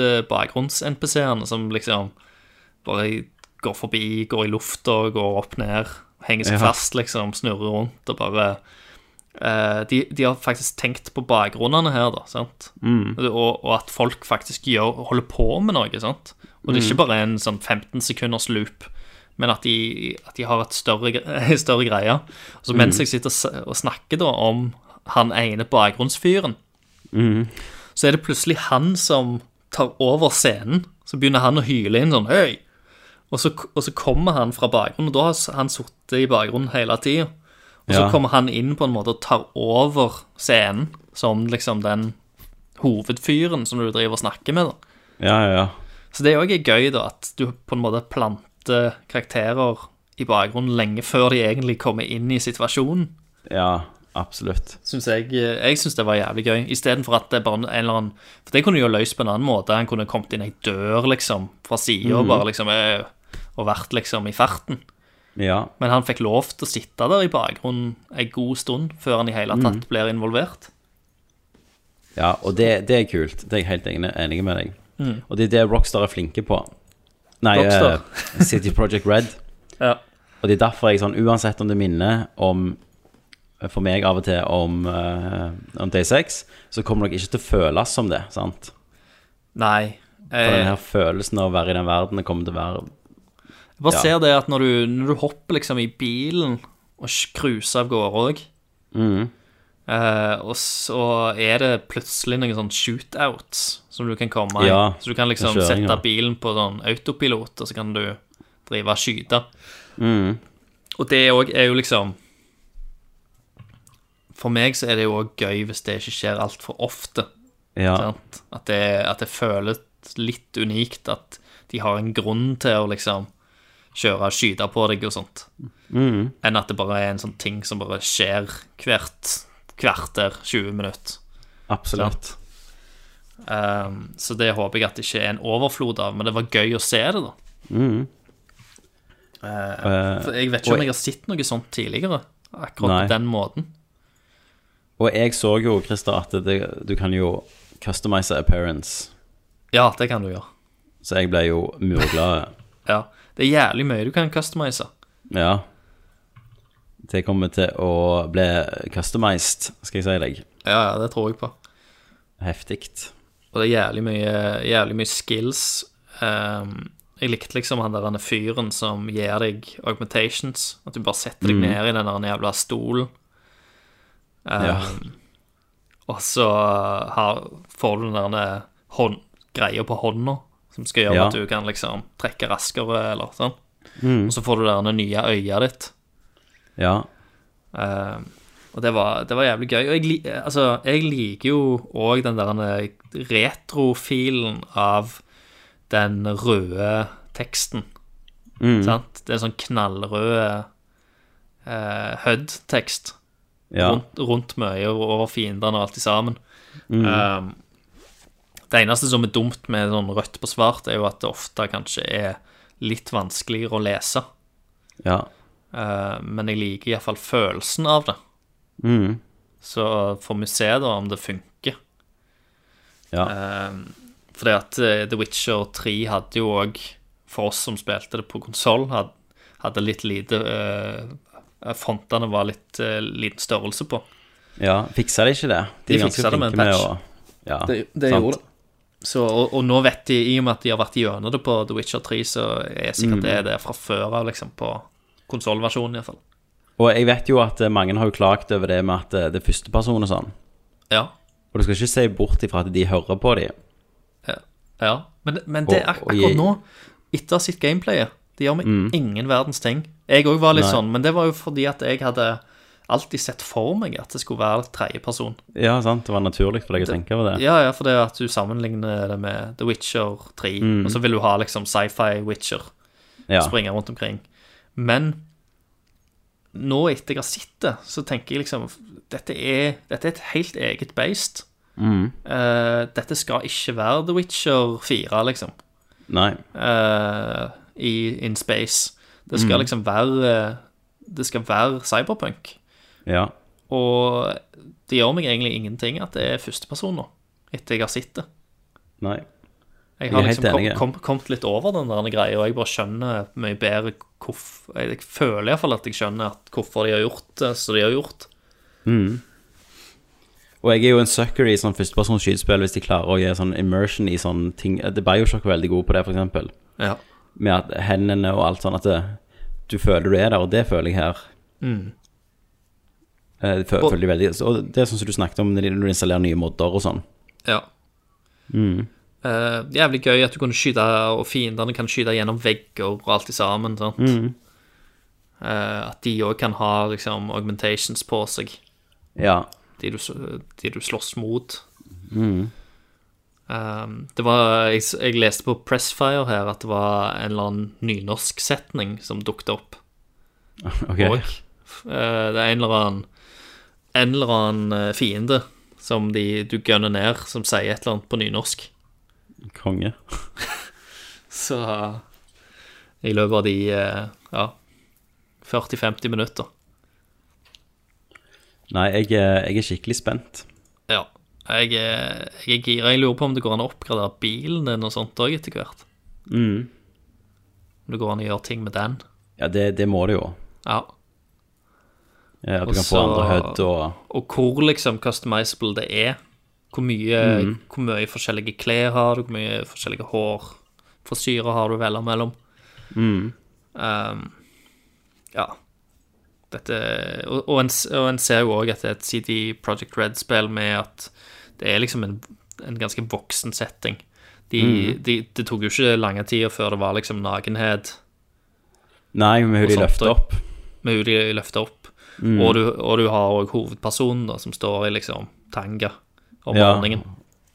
Speaker 5: eh, Creed-bakgrunns-NPC-ene som liksom bare går forbi, går i lufta, går opp ned, henger seg
Speaker 4: Ja.
Speaker 5: fast, liksom, snurrer rundt og bare Eh, de, de har faktisk tenkt på bakgrunnene her, da. sant? Og, og at folk faktisk gjør, holder på med noe. sant? Og det er ikke bare en sånn 15 sekunders loop, men at de, at de har et større, gre- større greie. Så mens jeg sitter og s- og snakker da om han ene bakgrunnsfyren, så er det plutselig han som tar over scenen. Så begynner han å hyle inn sånn Hei! Og så, og så kommer han fra bakgrunnen, og da har s- han sittet i bakgrunnen hele tida. Og så
Speaker 4: Ja.
Speaker 5: kommer han inn på en måte og tar over scenen som liksom den hovedfyren som du driver og snakker med. da.
Speaker 4: Ja, ja, ja.
Speaker 5: Så det òg er gøy, da, at du på en måte planter karakterer i bakgrunnen lenge før de egentlig kommer inn i situasjonen.
Speaker 4: Ja, absolutt.
Speaker 5: Synes jeg eh, jeg synes det var jævlig gøy. Istedenfor at det bare en eller annen For det kunne jo løst på en annen måte. Han kunne kommet inn ei dør, liksom, fra sida, bare liksom øh, Og vært liksom i farten.
Speaker 4: Ja.
Speaker 5: Men han fikk lov til å sitte der i bakgrunnen ei god stund før han i hele tatt blir involvert.
Speaker 4: Ja, og det, det er kult. Det er jeg helt enig, enig med deg. Og det er det Rockstar er flinke på. Nei,
Speaker 5: Mm. Rockstar.
Speaker 4: eh, City Project Red.
Speaker 5: Ja.
Speaker 4: Og det er derfor jeg sånn, uansett om det minner om For meg av og til om, eh, om Day 6, så kommer dere ikke til å føles som det, sant?
Speaker 5: Nei.
Speaker 4: For den
Speaker 5: Eh,
Speaker 4: her følelsen av å være i den verden det kommer til å være
Speaker 5: jeg bare
Speaker 4: ja.
Speaker 5: ser det at når du, når du hopper liksom i bilen og sk- cruiser av gårde òg,
Speaker 4: Mm.
Speaker 5: eh, og så er det plutselig noen sånn shootouts som du kan komme i.
Speaker 4: Ja,
Speaker 5: så du kan liksom
Speaker 4: det er kjøring,
Speaker 5: sette
Speaker 4: ja.
Speaker 5: bilen på sånn autopilot, og så kan du drive og skyte. Mm. Og det òg er jo liksom For meg så er det jo òg gøy hvis det ikke skjer altfor ofte.
Speaker 4: Ja,
Speaker 5: Sant? At, det, at det føles litt unikt at de har en grunn til å liksom kjøre og skyte på deg og sånt.
Speaker 4: Mm.
Speaker 5: Enn at det bare er en sånn ting som bare skjer hvert kvarter, 20 minutter.
Speaker 4: absolutt.
Speaker 5: Um, så det håper jeg at det ikke er en overflod av, men det var gøy å se det, da.
Speaker 4: Eh,
Speaker 5: For jeg vet ikke
Speaker 4: Og-
Speaker 5: om jeg har sett noe sånt tidligere, akkurat
Speaker 4: Nei.
Speaker 5: på den måten.
Speaker 4: og jeg så jo, Christer, at det, du kan jo customize appearance.
Speaker 5: Ja, det kan du gjøre.
Speaker 4: Så jeg ble jo murglad.
Speaker 5: Ja. Det er jævlig mye du kan customize.
Speaker 4: Ja. Det kommer til å bli customized, skal jeg si deg.
Speaker 5: Ja, ja, det tror jeg på.
Speaker 4: Heftig.
Speaker 5: Og det er jævlig mye, jævlig mye skills. Ehm, jeg likte liksom han der han er fyren som gir deg augmentations. At du bare setter
Speaker 4: Mm.
Speaker 5: deg ned i den der jævla stolen. Ehm,
Speaker 4: Ja.
Speaker 5: Og så har, får du den der hånd, greia på hånda som skal gjøre
Speaker 4: Ja. Mm.
Speaker 5: at du kan liksom trekke raskere eller sånn. Og så får du det der nye øyet ditt.
Speaker 4: Ja.
Speaker 5: Eh, og det var, det var jævlig gøy. Og jeg, li- altså, jeg liker jo òg den der eh, retrofilen av den røde teksten. Sant? Det er sånn knallrød eh, HUD-tekst
Speaker 4: Ja.
Speaker 5: rundt, rundt mye og over fiendene og alt i sammen. Um, det eneste som er dumt med sånn rødt på svart, er jo at det ofte kanskje er litt vanskeligere å lese.
Speaker 4: ja.
Speaker 5: Eh, men jeg liker iallfall følelsen av det.
Speaker 4: Mm.
Speaker 5: Så får vi se da om det funker. Ehm,
Speaker 4: Ja.
Speaker 5: Eh, Fordi at eh, The Witcher 3 hadde jo òg, for oss som spilte det på konsoll, hadde, hadde litt lite eh, Fontene var litt eh, liten størrelse på.
Speaker 4: ja. Fiksa de ikke det?
Speaker 5: De fiksa det med en patch.
Speaker 4: ja, sant.
Speaker 5: Sant. Så, og, og nå vet de, i og med at de har vært gjennom det på The Witcher 3, så er sikkert det er det fra før av, liksom, på konsollversjonen iallfall.
Speaker 4: Og jeg vet jo at eh, mange har jo klagt over det med at eh, det er førsteperson og sånn.
Speaker 5: Ja.
Speaker 4: Og du skal ikke se bort ifra at de hører på dem.
Speaker 5: ja. Men, men det er ak
Speaker 4: Og- og jeg-
Speaker 5: akkurat
Speaker 4: Mm.
Speaker 5: nå, etter å ha sett gameplayet Det gjør meg ingen verdens ting. Jeg òg var litt
Speaker 4: Nei.
Speaker 5: sånn, men det var jo fordi at jeg hadde alltid sett for meg at det skulle være tredjeperson.
Speaker 4: Ja, sant? Det var naturlig for deg å tenke over det.
Speaker 5: Ja, ja, for det er at du sammenligner det med The Witcher 3, og så vil du ha liksom sci-fi Witcher,
Speaker 4: Mm. Ja.
Speaker 5: springe rundt omkring. Men nå etter jeg har sett det, så tenker jeg liksom Dette er, dette er et helt eget beist.
Speaker 4: Mm.
Speaker 5: Eh, dette skal ikke være The Witcher 4, liksom,
Speaker 4: Nei.
Speaker 5: eh, i In Space. Det
Speaker 4: Mm.
Speaker 5: skal liksom være Det skal være cyberpunk.
Speaker 4: Ja.
Speaker 5: Og det gjør meg egentlig ingenting at det er førsteperson nå, etter jeg har sett det.
Speaker 4: Nei.
Speaker 5: Jeg
Speaker 4: Jeg
Speaker 5: har
Speaker 4: er
Speaker 5: liksom
Speaker 4: helt
Speaker 5: kom,
Speaker 4: enig, ja.
Speaker 5: kom, kommet litt over den der greia, og jeg bare skjønner mye bedre hvorfor Jeg føler iallfall at jeg skjønner at hvorfor de har gjort det som de har gjort.
Speaker 4: Og jeg er jo en sucker i sånn førstepersons skytespill hvis de klarer å gi sånn immersion i sånne ting. The Bioshock er veldig god på det, for eksempel.
Speaker 5: Ja.
Speaker 4: Med at hendene og alt sånn at det, du føler du er der, og det føler jeg her. Eh, det fø-
Speaker 5: Mm. Og-
Speaker 4: føler jeg veldig. Og det er sånn som du snakket om når du installerer nye modder og sånn.
Speaker 5: ja. Eh, jævlig gøy at du kunne skyte, og fiendene kan skyte gjennom vegger og alt i sammen. Sant? Eh, at de òg kan ha liksom augmentations på seg,
Speaker 4: Ja.
Speaker 5: de du, s- de du slåss mot. Um, det var, jeg, s- jeg leste på Pressfire her at det var en eller annen nynorsk setning som dukket opp.
Speaker 4: Ok.
Speaker 5: Og, eh, det er en eller annen, en eller annen eh, fiende som de, du gønner ned, som sier et eller annet på nynorsk.
Speaker 4: Konge.
Speaker 5: Så i løpet av de eh, ja, 40-50 minutter.
Speaker 4: Nei, jeg, er- jeg er skikkelig spent.
Speaker 5: Ja. Jeg, er- jeg er gira. Jeg lurer på om det går an å oppgradere bilen din og sånt òg etter hvert. Mm. Om det går an å gjøre ting med den.
Speaker 4: Ja, det, det må det jo.
Speaker 5: Ja.
Speaker 4: Eh, At du
Speaker 5: Og
Speaker 4: kan få
Speaker 5: så-
Speaker 4: andre HUD og
Speaker 5: Og hvor liksom customizable det er. Hvor mye, hvor mye forskjellige klær har du, hvor mye forskjellige hår Frisyrer har du å velge mellom. Um, ja. Dette Og, og, en, s- og en ser jo òg at det er et CD Project Red-spill med at det er liksom en, en ganske voksen setting. De, de, det tok jo ikke lange tida før det var liksom nakenhet
Speaker 4: Nei, men hun
Speaker 5: Og
Speaker 4: de
Speaker 5: sånt
Speaker 4: løfter
Speaker 5: også.
Speaker 4: opp.
Speaker 5: med hun de løfter opp. Og, du, og du har òg hovedpersonen da, som står i liksom tanga om
Speaker 4: Ja.
Speaker 5: morgenen.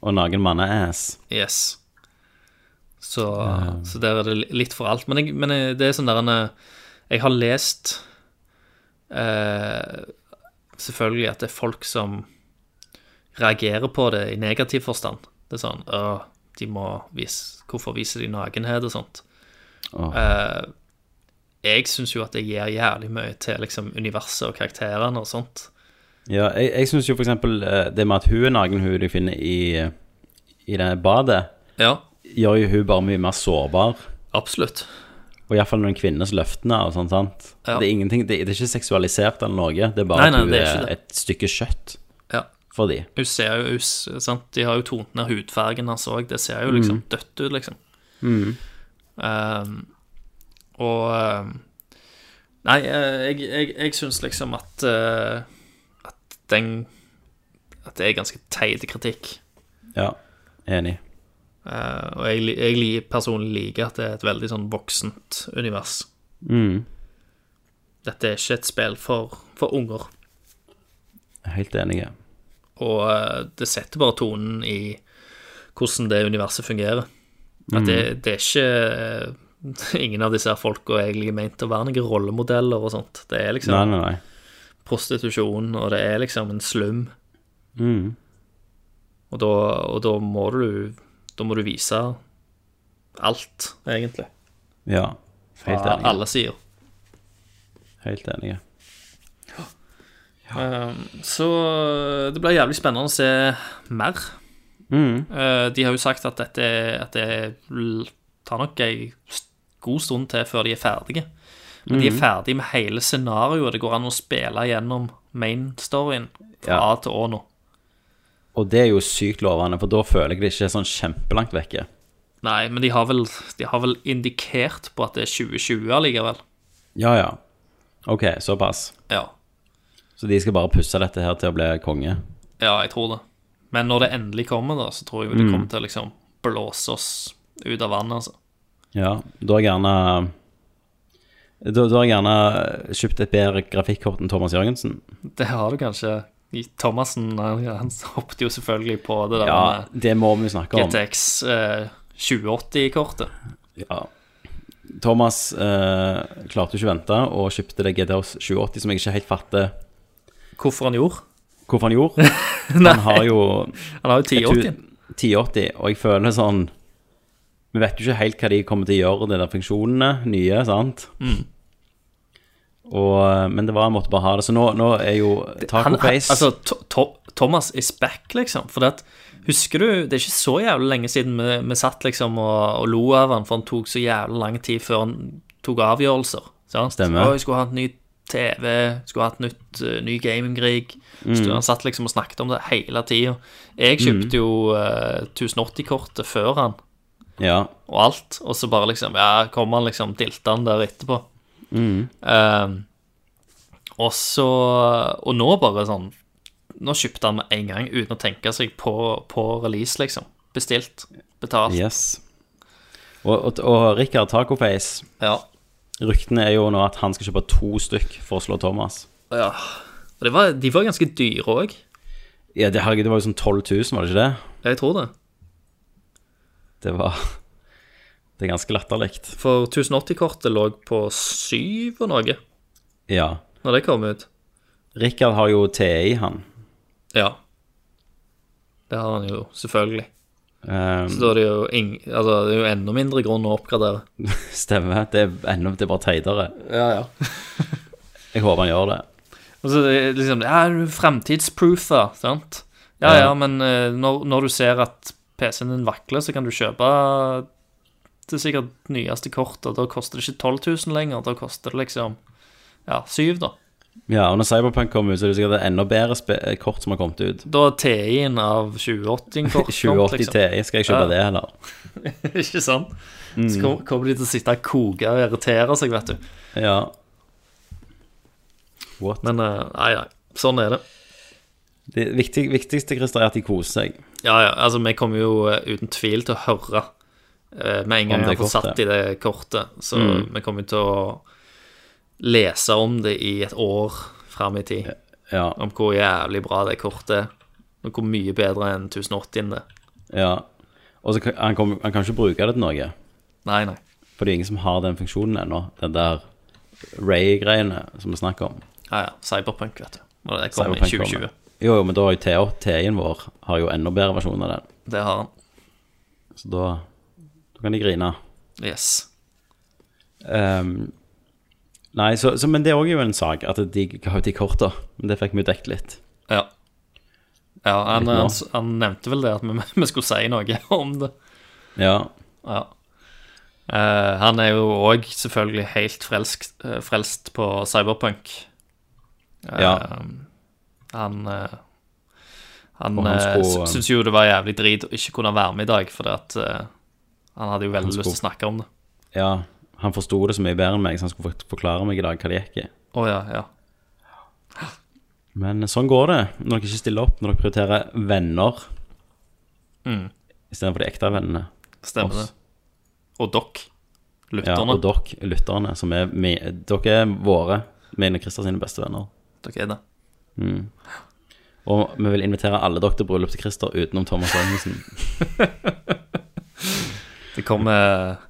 Speaker 4: Og naken mann er ass.
Speaker 5: Yes. Så, så der er det li- litt for alt. Men, jeg, men jeg- det er sånn der en eh, Jeg har lest eh, Selvfølgelig at det er folk som reagerer på det i negativ forstand. Det er sånn «Åh, de må vise, Hvorfor viser de nakenhet og sånt?
Speaker 4: Åh.
Speaker 5: Eh, jeg syns jo at det gir jævlig mye til liksom, universet og karakterene og sånt.
Speaker 4: Ja, jeg, jeg syns jo for eksempel eh, det med at hun er naken, hun du finner i, i det badet,
Speaker 5: Ja,
Speaker 4: gjør jo hun bare mye mer sårbar.
Speaker 5: absolutt.
Speaker 4: Og iallfall noen kvinners løftene og sånn, sant.
Speaker 5: Ja.
Speaker 4: Det, er ingenting, det, det er ikke seksualisert eller noe, det er
Speaker 5: Nei,
Speaker 4: bare
Speaker 5: nei,
Speaker 4: at hun
Speaker 5: det er
Speaker 4: er,
Speaker 5: ikke det.
Speaker 4: et stykke kjøtt
Speaker 5: Ja.
Speaker 4: for de.
Speaker 5: Hun ser jo hun s- sant? De har jo tonet ned hudfargen hans òg. Det ser jo liksom dødt ut, liksom. Ehm, og ehm, Nei, eh, jeg, jeg, jeg syns liksom at eh, At den At det er ganske teit kritikk.
Speaker 4: Ja, enig.
Speaker 5: Eh, og jeg, li- jeg li- personlig liker at det er et veldig sånn voksent univers.
Speaker 4: Mm,
Speaker 5: Dette er ikke et spill for, for unger.
Speaker 4: helt enig.
Speaker 5: Og eh, det setter bare tonen i hvordan det universet fungerer. At
Speaker 4: Mm.
Speaker 5: det, det er ikke eh, Ingen av disse her folka er egentlig ment å være noen rollemodeller og sånt. Det er liksom
Speaker 4: Nei, nei, nei.
Speaker 5: prostitusjon, og det er liksom en slum.
Speaker 4: Mm.
Speaker 5: Og da, og da må du Da må du vise alt, egentlig.
Speaker 4: Ja, helt
Speaker 5: Fra
Speaker 4: enig.
Speaker 5: alle sider.
Speaker 4: Helt enig.
Speaker 5: Um, Så eh, det blir jævlig spennende å se mer. Uh, De har jo sagt at dette at det l- tar nok ei s- god stund til før de er ferdige. Men de er ferdige med hele scenarioet. Det går an å spille gjennom main-storyen fra
Speaker 4: Ja.
Speaker 5: A til Å nå.
Speaker 4: Og det er jo sykt lovende, for da føler jeg det ikke er sånn kjempelangt vekke.
Speaker 5: Nei, men de har vel, de har vel indikert på at det er 2020 allikevel.
Speaker 4: Ja, ja. Ok, såpass.
Speaker 5: Ja.
Speaker 4: Så de skal bare pusse dette her til å bli konge?
Speaker 5: ja, jeg tror det. Men når det endelig kommer, da, så tror jeg det kommer til å liksom blåse oss ut av vannet, altså.
Speaker 4: Ja, da har jeg gjerne da, da har jeg gjerne kjøpt et bedre grafikkort enn Thomas Jørgensen.
Speaker 5: Det har du kanskje. I Thomassen han han hoppet jo selvfølgelig på det der
Speaker 4: Ja,
Speaker 5: med
Speaker 4: det må vi snakke om.
Speaker 5: GTX eh, 2080-kortet.
Speaker 4: Ja. Thomas eh, klarte ikke å vente og kjøpte det GTOS 780, som jeg ikke helt fatter
Speaker 5: Hvorfor han gjorde?
Speaker 4: hvorfor han gjorde. Han har jo
Speaker 5: Han har jo 1080.
Speaker 4: 1080, og jeg føler sånn Vi vet jo ikke helt hva de kommer til å gjøre, de der funksjonene, nye, sant?
Speaker 5: Mm.
Speaker 4: Og, eh, men det var jeg måtte bare ha det. Så nå, nå er jo
Speaker 5: Han- han-
Speaker 4: Tacoface
Speaker 5: Altså, to, to, Thomas is back, liksom. For det at, husker du, det er ikke så jævlig lenge siden vi, vi satt liksom og, og lo av han, for han tok så jævlig lang tid før han tok avgjørelser. Sant?
Speaker 4: Stemmer.
Speaker 5: Å, jeg skulle hatt ny TV, skulle hatt nytt, eh, ny gamingrig. Så Han satt liksom og snakket om det hele tida. Jeg kjøpte jo eh, 1080-kortet før han,
Speaker 4: Ja.
Speaker 5: og alt, og så bare liksom, ja, kom han liksom, dilta han der etterpå. Ehm, og så Og nå bare sånn Nå kjøpte han med en gang uten å tenke seg på, på release, liksom. Bestilt. Betalt.
Speaker 4: Yes. Og, og, og Rikard Tacoface
Speaker 5: Ja.
Speaker 4: Ryktene er jo nå at han skal kjøpe to stykk for å slå Thomas.
Speaker 5: ja. Og det var, de var ganske dyre òg.
Speaker 4: Ja, det, herregud, det var jo sånn 12 000, var det ikke det?
Speaker 5: Jeg tror det.
Speaker 4: Det var Det er ganske latterlig.
Speaker 5: For 1080-kortet lå på syv og noe
Speaker 4: Ja.
Speaker 5: når det kom ut.
Speaker 4: Rikard har jo TI, han.
Speaker 5: Ja. Det har han jo, selvfølgelig.
Speaker 4: Um,
Speaker 5: Så da er det jo, ing, altså, det er jo enda mindre grunn å oppgradere.
Speaker 4: Stemmer. Det er ennå det er bare teitere.
Speaker 5: Ja, ja.
Speaker 4: Jeg håper han gjør det.
Speaker 5: Altså, det er liksom, ja, du er fremtidsproofa, sant? Ja, ja, men eh, når, når du ser at PC-en din vakler, så kan du kjøpe det sikkert nyeste kortet. Da koster det ikke 12 000 lenger, da koster det liksom ja, 7 da.
Speaker 4: Ja, og når Cyberpunk kommer ut, så er det sikkert et enda bedre spe eh, kort som har kommet ut.
Speaker 5: Da er TI-en av 2080-kort.
Speaker 4: 2080 TI, skal jeg
Speaker 5: liksom. Ja.
Speaker 4: kjøpe det, eller?
Speaker 5: ikke sant? Så kom- kommer de til å sitte og koke og irritere seg, vet du.
Speaker 4: Ja. What?
Speaker 5: Men eh, nei, nei, sånn er det.
Speaker 4: Det viktig, viktigste, Christer, er at de koser seg.
Speaker 5: Ja, ja, altså vi kommer jo eh, uten tvil til å høre eh, med en gang jeg
Speaker 4: Om det
Speaker 5: har fått satt
Speaker 4: kortet. Mm.
Speaker 5: i det kortet. Så vi kommer jo til å lese om det i et år fram i tid.
Speaker 4: Ja.
Speaker 5: Om hvor jævlig bra det kortet er. Og hvor mye bedre enn 1080-en det er.
Speaker 4: ja. Og så kan han, kom, han kan ikke bruke det til noe,
Speaker 5: Nei, nei.
Speaker 4: for det er ingen som har den funksjonen ennå. Den der Ray-greiene som vi snakker om.
Speaker 5: Ja, ja. Cyberpunk, vet du. Og det kommer i
Speaker 4: Cyberpunk
Speaker 5: 2020.
Speaker 4: kommer. Jo, jo, men da har jo TI TI-en vår har jo enda bedre versjon av den.
Speaker 5: Det har han.
Speaker 4: Så da, da kan de grine.
Speaker 5: Yes.
Speaker 4: Ehm, nei, så, så, men det er også jo en sak at de ga ut de korta. Men det fikk vi jo dekket litt.
Speaker 5: Ja. Ja, han,
Speaker 4: Litt nå.
Speaker 5: han, han nevnte vel det at vi, vi skulle si noe om det.
Speaker 4: Ja,
Speaker 5: Ja. Eh, han er jo òg selvfølgelig helt frelsk, eh, frelst på cyberpunk. Eh,
Speaker 4: ja,
Speaker 5: Han, eh, han,
Speaker 4: Og han
Speaker 5: eh,
Speaker 4: skulle-
Speaker 5: sy- syntes jo det var jævlig drit å ikke kunne være med i dag, fordi at eh, han hadde jo veldig lyst til å snakke om det.
Speaker 4: ja. Han forsto det så mye bedre enn meg, så han skulle fort- forklare meg i dag hva det gikk i.
Speaker 5: Å ja, ja.
Speaker 4: Men sånn går det når dere ikke stiller opp, når dere prioriterer venner Mm. istedenfor de ekte vennene.
Speaker 5: Stemmer
Speaker 4: Oss.
Speaker 5: det. Og dere,
Speaker 4: Ja,
Speaker 5: lytterne.
Speaker 4: og dere, lytterne, som er mi, Dere er våre, mine og Christer sine beste venner.
Speaker 5: dere er det.
Speaker 4: Og vi vil invitere alle dere til bryllup til Christer utenom Thomas Jørgensen.
Speaker 5: Det kommer eh,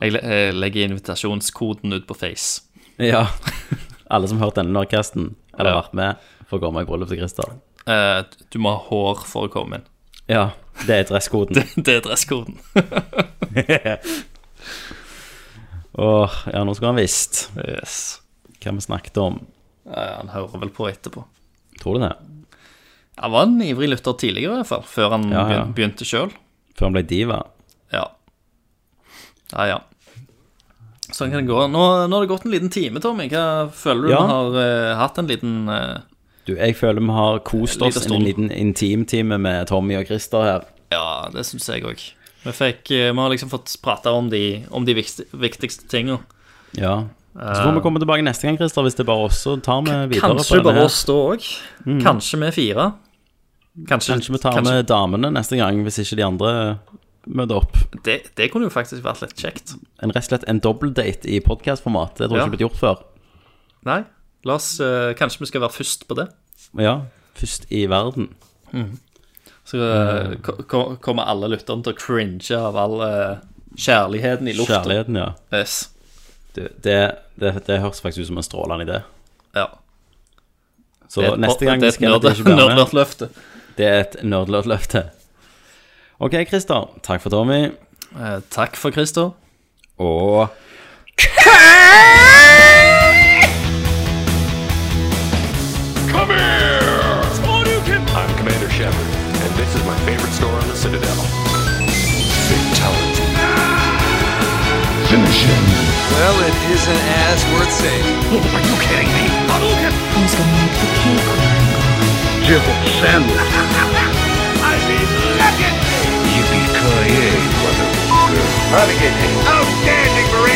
Speaker 5: Jeg le- jeg legger invitasjonskoden ut på Face.
Speaker 4: Ja. Alle som har hørt denne Norcasten, eller
Speaker 5: Ja.
Speaker 4: vært med, får komme i bryllup til Christer.
Speaker 5: Eh, du må ha hår for å komme inn.
Speaker 4: Ja, det er dresskoden.
Speaker 5: Det er dresskoden.
Speaker 4: Åh, ja, nå skulle han visst
Speaker 5: Yes.
Speaker 4: hva vi snakket om.
Speaker 5: Ja, han hører vel på etterpå.
Speaker 4: Tror du det?
Speaker 5: Han var en ivrig lytter tidligere, i hvert fall. Før han
Speaker 4: Ja, ja.
Speaker 5: begyn- begynte sjøl.
Speaker 4: Før han ble diva?
Speaker 5: Ja. ja, ja. Sånn kan det gå. Nå, nå har det gått en liten time, Tommy. Hva føler du
Speaker 4: Ja.
Speaker 5: vi har eh, hatt en liten eh,
Speaker 4: Du, jeg føler vi har kost oss
Speaker 5: Liten
Speaker 4: i en liten intimtime med Tommy og Christer her.
Speaker 5: Ja, det syns jeg òg. Vi, fikk, eh, vi har liksom fått prata om de, om de viktigste, viktigste tinga.
Speaker 4: Ja. Så får vi komme tilbake neste gang, Christer, hvis det er bare oss. Så tar vi videre på
Speaker 5: Kanskje
Speaker 4: denne
Speaker 5: bare
Speaker 4: her. Mm.
Speaker 5: oss da òg. Kanskje vi er fire. Kanskje,
Speaker 4: Kanskje vi tar
Speaker 5: kanskje-
Speaker 4: med damene neste gang, hvis ikke de andre møter opp.
Speaker 5: det, det kunne jo faktisk vært litt kjekt.
Speaker 4: En rett og slett en dobbeltdate i podkastformat. Det tror jeg
Speaker 5: Ja.
Speaker 4: ikke blitt gjort før.
Speaker 5: Nei, la oss, eh, kanskje vi skal være først på det.
Speaker 4: Ja, først i verden.
Speaker 5: Så eh,
Speaker 4: Mm.
Speaker 5: ko- ko- kommer alle lytterne til å cringe av all eh, kjærligheten i lufta.
Speaker 4: Kjærligheten, ja.
Speaker 5: Yes.
Speaker 4: Du, det, det, det høres faktisk ut som en strålende idé.
Speaker 5: Ja.
Speaker 4: Så neste gang
Speaker 5: det er et
Speaker 4: skal jeg
Speaker 5: nerd-
Speaker 4: ikke være med.
Speaker 5: nerdløfte.
Speaker 4: Det er et nerdløfte. Ok, Christer. Takk for Tommy.
Speaker 5: Eh, Takk for Christer.
Speaker 4: Og
Speaker 2: Come here! I'm Commander Shepard, and this is my favorite store on the Citadel. Fatality. Finish him.
Speaker 1: Well, it isn't as worth saying.
Speaker 2: Are you kidding me?
Speaker 3: Who's gonna make the cake line?
Speaker 2: Jibble sandwich. I mean, look at me! Yippee-ki-yay, motherfucker. Outstanding, Marine!